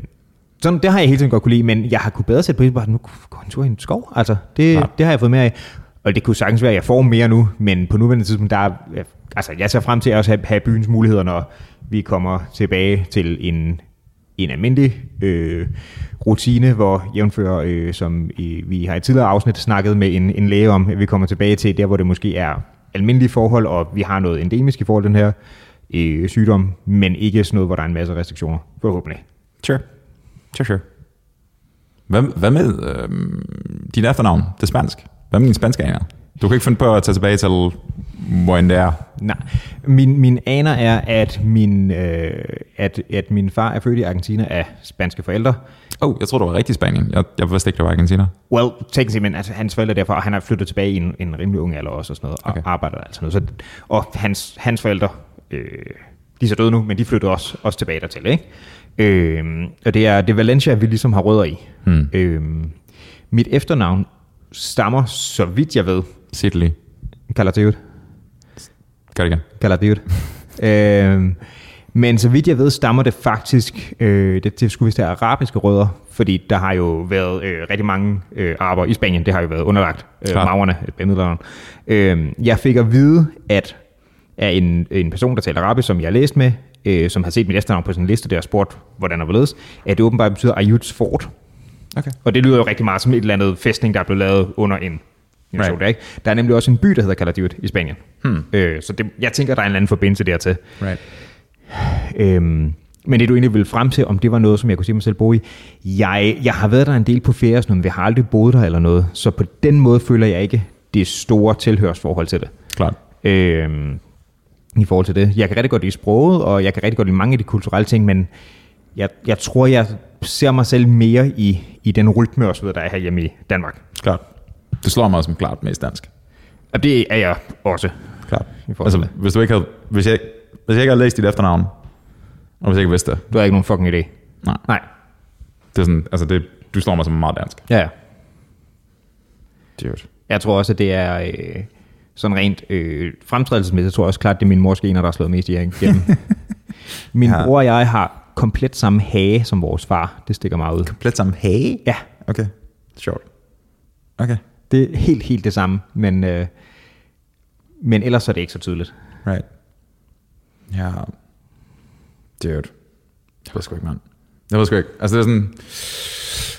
S1: sådan, det har jeg hele tiden godt kunne lide, men jeg har kunne bedre sætte pris på, at nu går en tur i en skov. Altså, det,
S2: Klart.
S1: det har jeg fået mere af. Og det kunne sagtens være, at jeg får mere nu, men på nuværende tidspunkt, der er, altså, jeg ser frem til at også have, have byens muligheder, når vi kommer tilbage til en, en almindelig øh, rutine, hvor jævnfører, øh, som øh, vi har i et tidligere afsnit snakket med en, en læge om, at vi kommer tilbage til der, hvor det måske er almindelige forhold, og vi har noget endemisk i forhold til den her øh, sygdom, men ikke sådan noget, hvor der er en masse restriktioner, forhåbentlig.
S2: Sure. Sure, sure. Hvad, hvad med øh, din efternavn? Det er spansk. Hvad med din spanske aner? Du kan ikke finde på at tage tilbage til, hvor end det er.
S1: Nej, min, min aner er, at min, øh, at, at min far er født i Argentina af spanske forældre.
S2: Åh, oh, jeg tror du var rigtig i Spanien. Jeg, jeg vidste ikke, det var Argentina.
S1: Well, teknisk set, men altså, hans forældre er derfra, og han har flyttet tilbage i en, en rimelig ung alder også, og sådan noget, og
S2: Okay.
S1: okay. arbejder altså noget. Så, og hans, hans forældre, øh, de er så døde nu, men de flyttede også, også tilbage dertil, ikke? Øh, og det er, det er Valencia, vi ligesom har rødder i. Hmm. Øh, mit efternavn stammer, så vidt jeg ved,
S2: Sig det lige.
S1: kalder det ud.
S2: Gør det igen.
S1: kalder det øh, men så vidt jeg ved, stammer det faktisk, øh, det, det skulle vist være arabiske rødder, fordi der har jo været øh, rigtig mange øh, araber i Spanien, det har jo været underlagt, øh,
S2: Klart.
S1: magrerne, bemidlerne. Øh, jeg fik at vide, at af en, en person, der taler arabisk, som jeg har læst med, øh, som har set mit efternavn på sin liste der og spurgt, hvordan og hvorledes, at det åbenbart betyder Ayuts Fort.
S2: Okay.
S1: Og det lyder jo rigtig meget som et eller andet fæstning, der er blevet lavet under en en
S2: Right.
S1: right. der, ikke? der er nemlig også en by, der hedder Caladivet i Spanien. Hmm. Øh, så det, jeg tænker, der er en eller anden forbindelse dertil.
S2: Right.
S1: Øhm, men det du egentlig ville frem til, om det var noget, som jeg kunne se mig selv bo i. Jeg, jeg har været der en del på ferie, og sådan noget, men vi har aldrig boet der eller noget. Så på den måde føler jeg ikke det store tilhørsforhold til det.
S2: Klart.
S1: Øhm, I forhold til det. Jeg kan rigtig godt lide sproget, og jeg kan rigtig godt lide mange af de kulturelle ting, men jeg, jeg tror, jeg ser mig selv mere i, i den rytme, og så videre, der er her hjemme i Danmark.
S2: Klart. Det slår mig som klart mest dansk.
S1: Og det er jeg også.
S2: Klart.
S1: I forhold
S2: Altså,
S1: til
S2: hvis du ikke havde, hvis jeg, hvis jeg ikke havde læst dit efternavn, og hvis jeg ikke vidste det,
S1: Du har ikke nogen fucking idé.
S2: Nej.
S1: Nej.
S2: det er sådan, altså det, du slår mig som meget dansk.
S1: Ja, ja.
S2: Dude.
S1: Jeg tror også, at det er øh, sådan rent øh, fremtrædelsesmæssigt, jeg tror også klart, det er min mors gener, der har slået mest igennem. min
S2: Ja.
S1: ja. bror og jeg har komplet samme hage som vores far. Det stikker meget ud.
S2: Plet sammen, hey.
S1: Ja,
S2: Okay. Sjovt. Okay.
S1: det er helt, helt det samme, men, øh, men ellers er det ikke så tydeligt.
S2: Right. Ja. Dude. Jeg ved sgu ikke, mand. Jeg ved sgu ikke. Altså, det er sådan...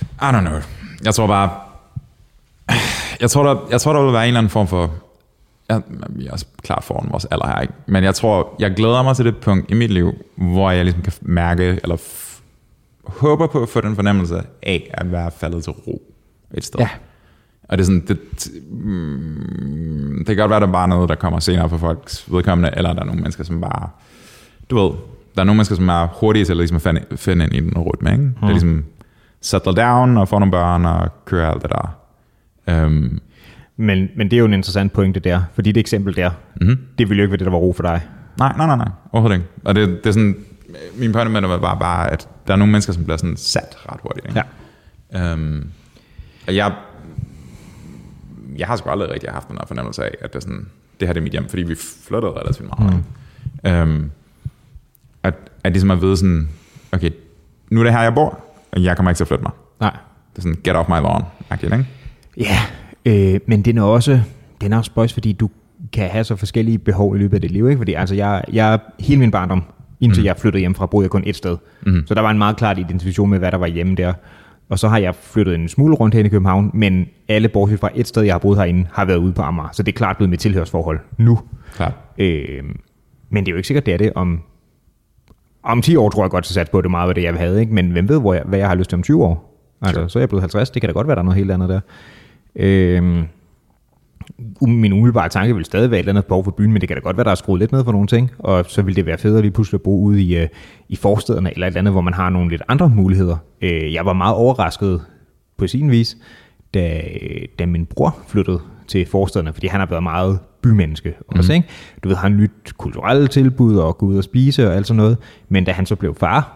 S2: I don't know. Jeg tror bare... Jeg tror, der, jeg tror, der vil være en eller anden form for... Jeg, jeg er også klart foran vores alder her, ikke? Men jeg tror, jeg glæder mig til det punkt i mit liv, hvor jeg ligesom kan mærke, eller f- håber på at få den fornemmelse af at være faldet til ro et sted.
S1: Ja.
S2: Og det er sådan, det, mm, det kan godt være, der bare er noget, der kommer senere for folks vedkommende, eller der er nogle mennesker, som bare, du ved, der er nogle mennesker, som er hurtige til at ligesom at finde, finde ind i den rytme, ikke? Mm. Det er ligesom settle down og få nogle børn og køre alt det der. Um,
S1: Men, men det er jo en interessant pointe der, fordi det eksempel der, mm-hmm. det ville jo ikke være det, der var ro for dig.
S2: nej, nej, nej, nej, overhovedet ikke. Og det, det er sådan, min pointe med det var bare, bare, at der er nogle mennesker, som bliver sådan sat ret hurtigt, ikke?
S1: Ja.
S2: Øhm, og jeg, jeg har sgu aldrig rigtig haft den her fornemmelse af, at det er sådan, det her det er mit hjem, fordi vi flyttede relativt meget. Mm. Øhm, at, at ligesom at vide sådan, okay, nu er det her, jeg bor, og jeg kommer ikke til at flytte mig.
S1: Nej.
S2: Det er sådan, get off my lawn, agtigt, ikke?
S1: Ja, øh, men den er også, den er også spøjs, fordi du kan have så forskellige behov i løbet af dit liv. Ikke? Fordi altså, jeg, jeg, hele min barndom, indtil mm. jeg flyttede hjem fra, boede jeg kun et sted. Mm. Så der var en meget klar identifikation med, hvad der var hjemme der. Og så har jeg flyttet en smule rundt her i København, men alle, bortset fra et sted, jeg har boet herinde, har været ude på Amager. Så det er klart blevet mit tilhørsforhold nu.
S2: Klart.
S1: Øh, men det er jo ikke sikkert, det er det om... Om 10 år tror jeg godt, så sat på at det er meget, hvad det jeg havde. Ikke? Men hvem ved, hvor jeg, hvad jeg har lyst til om 20 år? Altså, sure. så er jeg blevet 50. Det kan da godt være, der er noget helt andet der. Øhm, um- min umiddelbare tanke vil stadig være et eller andet behov for byen, men det kan da godt være, der er skruet lidt ned for nogle ting, og så vil det være federe lige pludselig at bo ude i, øh, i forstederne eller et eller andet, hvor man har nogle lidt andre muligheder. Øh, jeg var meget overrasket på sin vis, da, øh, da min bror flyttede til forstederne, fordi han har været meget bymenneske også, mm. ikke? Du ved, han lyttet kulturelle tilbud og gå ud og spise og alt sådan noget, men da han så blev far,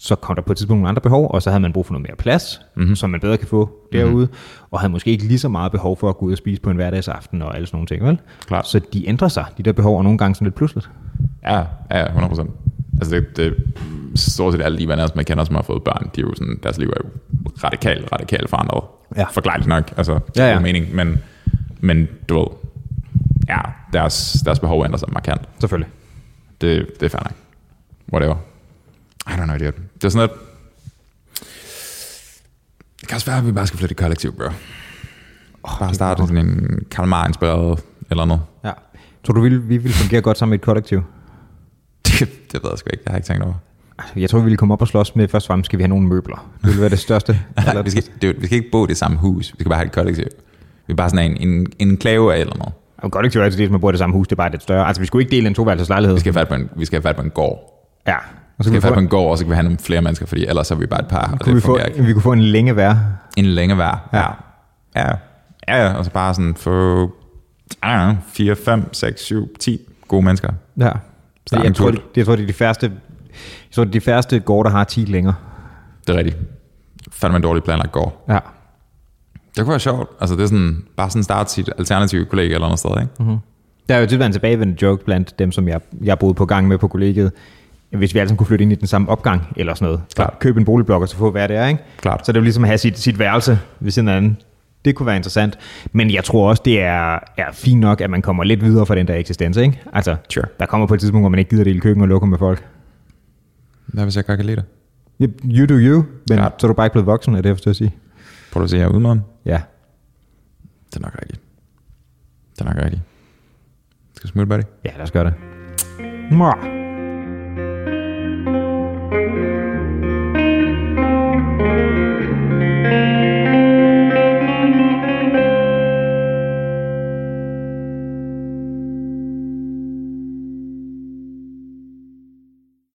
S1: så kom der på et tidspunkt nogle andre behov, og så havde man brug for noget mere plads,
S2: Mhm.
S1: mm-hmm. som man bedre kan få derude, mm-hmm. og havde måske ikke lige så meget behov for at gå ud og spise på en hverdagsaften og alle sådan nogle ting, vel?
S2: Klart.
S1: Så de ændrer sig, de der behov, og nogle gange sådan lidt pludseligt.
S2: Ja, ja, 100%. Altså det, det stort set alle de venner, som jeg kender, som har fået børn, de er jo sådan, deres liv er jo radikalt, radikalt forandret.
S1: Ja.
S2: Forklarligt nok, altså det
S1: Ja,
S2: ja,
S1: ja.
S2: ja. mening, men, men du ved, ja, deres, deres behov ændrer sig markant.
S1: Selvfølgelig.
S2: Det, det er fair nok. Whatever. I don't know, dude. Det er sådan, at... Det kan også være, at vi bare skal flytte i kollektiv, bro. Oh, bare starte sådan en Karl Marx-inspireret eller noget.
S1: Ja. Tror du, vi, vi ville fungere godt sammen i et kollektiv?
S2: Det, det ved jeg sgu ikke. Jeg har ikke tænkt over.
S1: Altså, Jeg tror, vi ville komme op og slås med, først og fremmest skal vi have nogle møbler. Det ville være det største.
S2: Nej, vi, skal, dude, vi skal ikke bo i det samme hus. Vi skal bare have et kollektiv. Vi er bare sådan en, en, en klave af eller noget.
S1: Og kollektiv er altid det, man bor i det samme hus, det er bare lidt større. Altså, vi skulle ikke dele en toværelseslejlighed.
S2: Vi skal have fat på en, vi skal have fat på en gård.
S1: Ja. Og så
S2: Vi skal have
S1: kunne vi, få,
S2: fat på en gård, og så kan vi have nogle flere mennesker, fordi ellers er vi bare et par, og
S1: kunne vi,
S2: det
S1: få,
S2: fungerer ikke.
S1: vi kunne få en længe vær.
S2: En længe hver.
S1: Ja.
S2: Ja, ja, ja. og så bare sådan få, I don't know, 4, 5, 6, 7, 10 gode mennesker.
S1: Ja.
S2: Start
S1: Det,
S2: en
S1: jeg, tror,
S2: kult.
S1: det, jeg tror, det er de færreste, jeg tror, det er de færreste gårde, der har 10 længere.
S2: Det er rigtigt. Fandme en dårlig planlagt gård.
S1: Ja.
S2: Det kunne være sjovt. Altså det er sådan, bare sådan starte sit alternative kollega eller andet sted, ikke?
S1: Mhm.
S2: Mm-hmm.
S1: Der er jo tit været en tilbagevendende joke blandt dem, som jeg, jeg boede på gang med på kollegiet. Hvis vi alle sammen kunne flytte ind i den samme opgang eller sådan noget.
S2: Klart.
S1: Så Købe en boligblok og så få, hvad det er, ikke?
S2: Klart.
S1: Så det er jo ligesom at have sit, sit værelse ved siden af anden. Det kunne være interessant. Men jeg tror også, det er, er fint nok, at man kommer lidt videre fra den der eksistens, ikke? Altså,
S2: Sure.
S1: der kommer på et tidspunkt, hvor man ikke gider dele køkken og lukke med folk.
S2: Hvad hvis jeg godt kan lide det?
S1: Yep, You do you, men
S2: Ja.
S1: så er du bare ikke blevet voksen, er det, jeg forstår at sige.
S2: Prøv at se her udenom.
S1: Ja.
S2: Det er nok rigtigt. Det er nok rigtigt. Skal vi smutte, buddy?
S1: Ja, lad os gøre det. Mwah.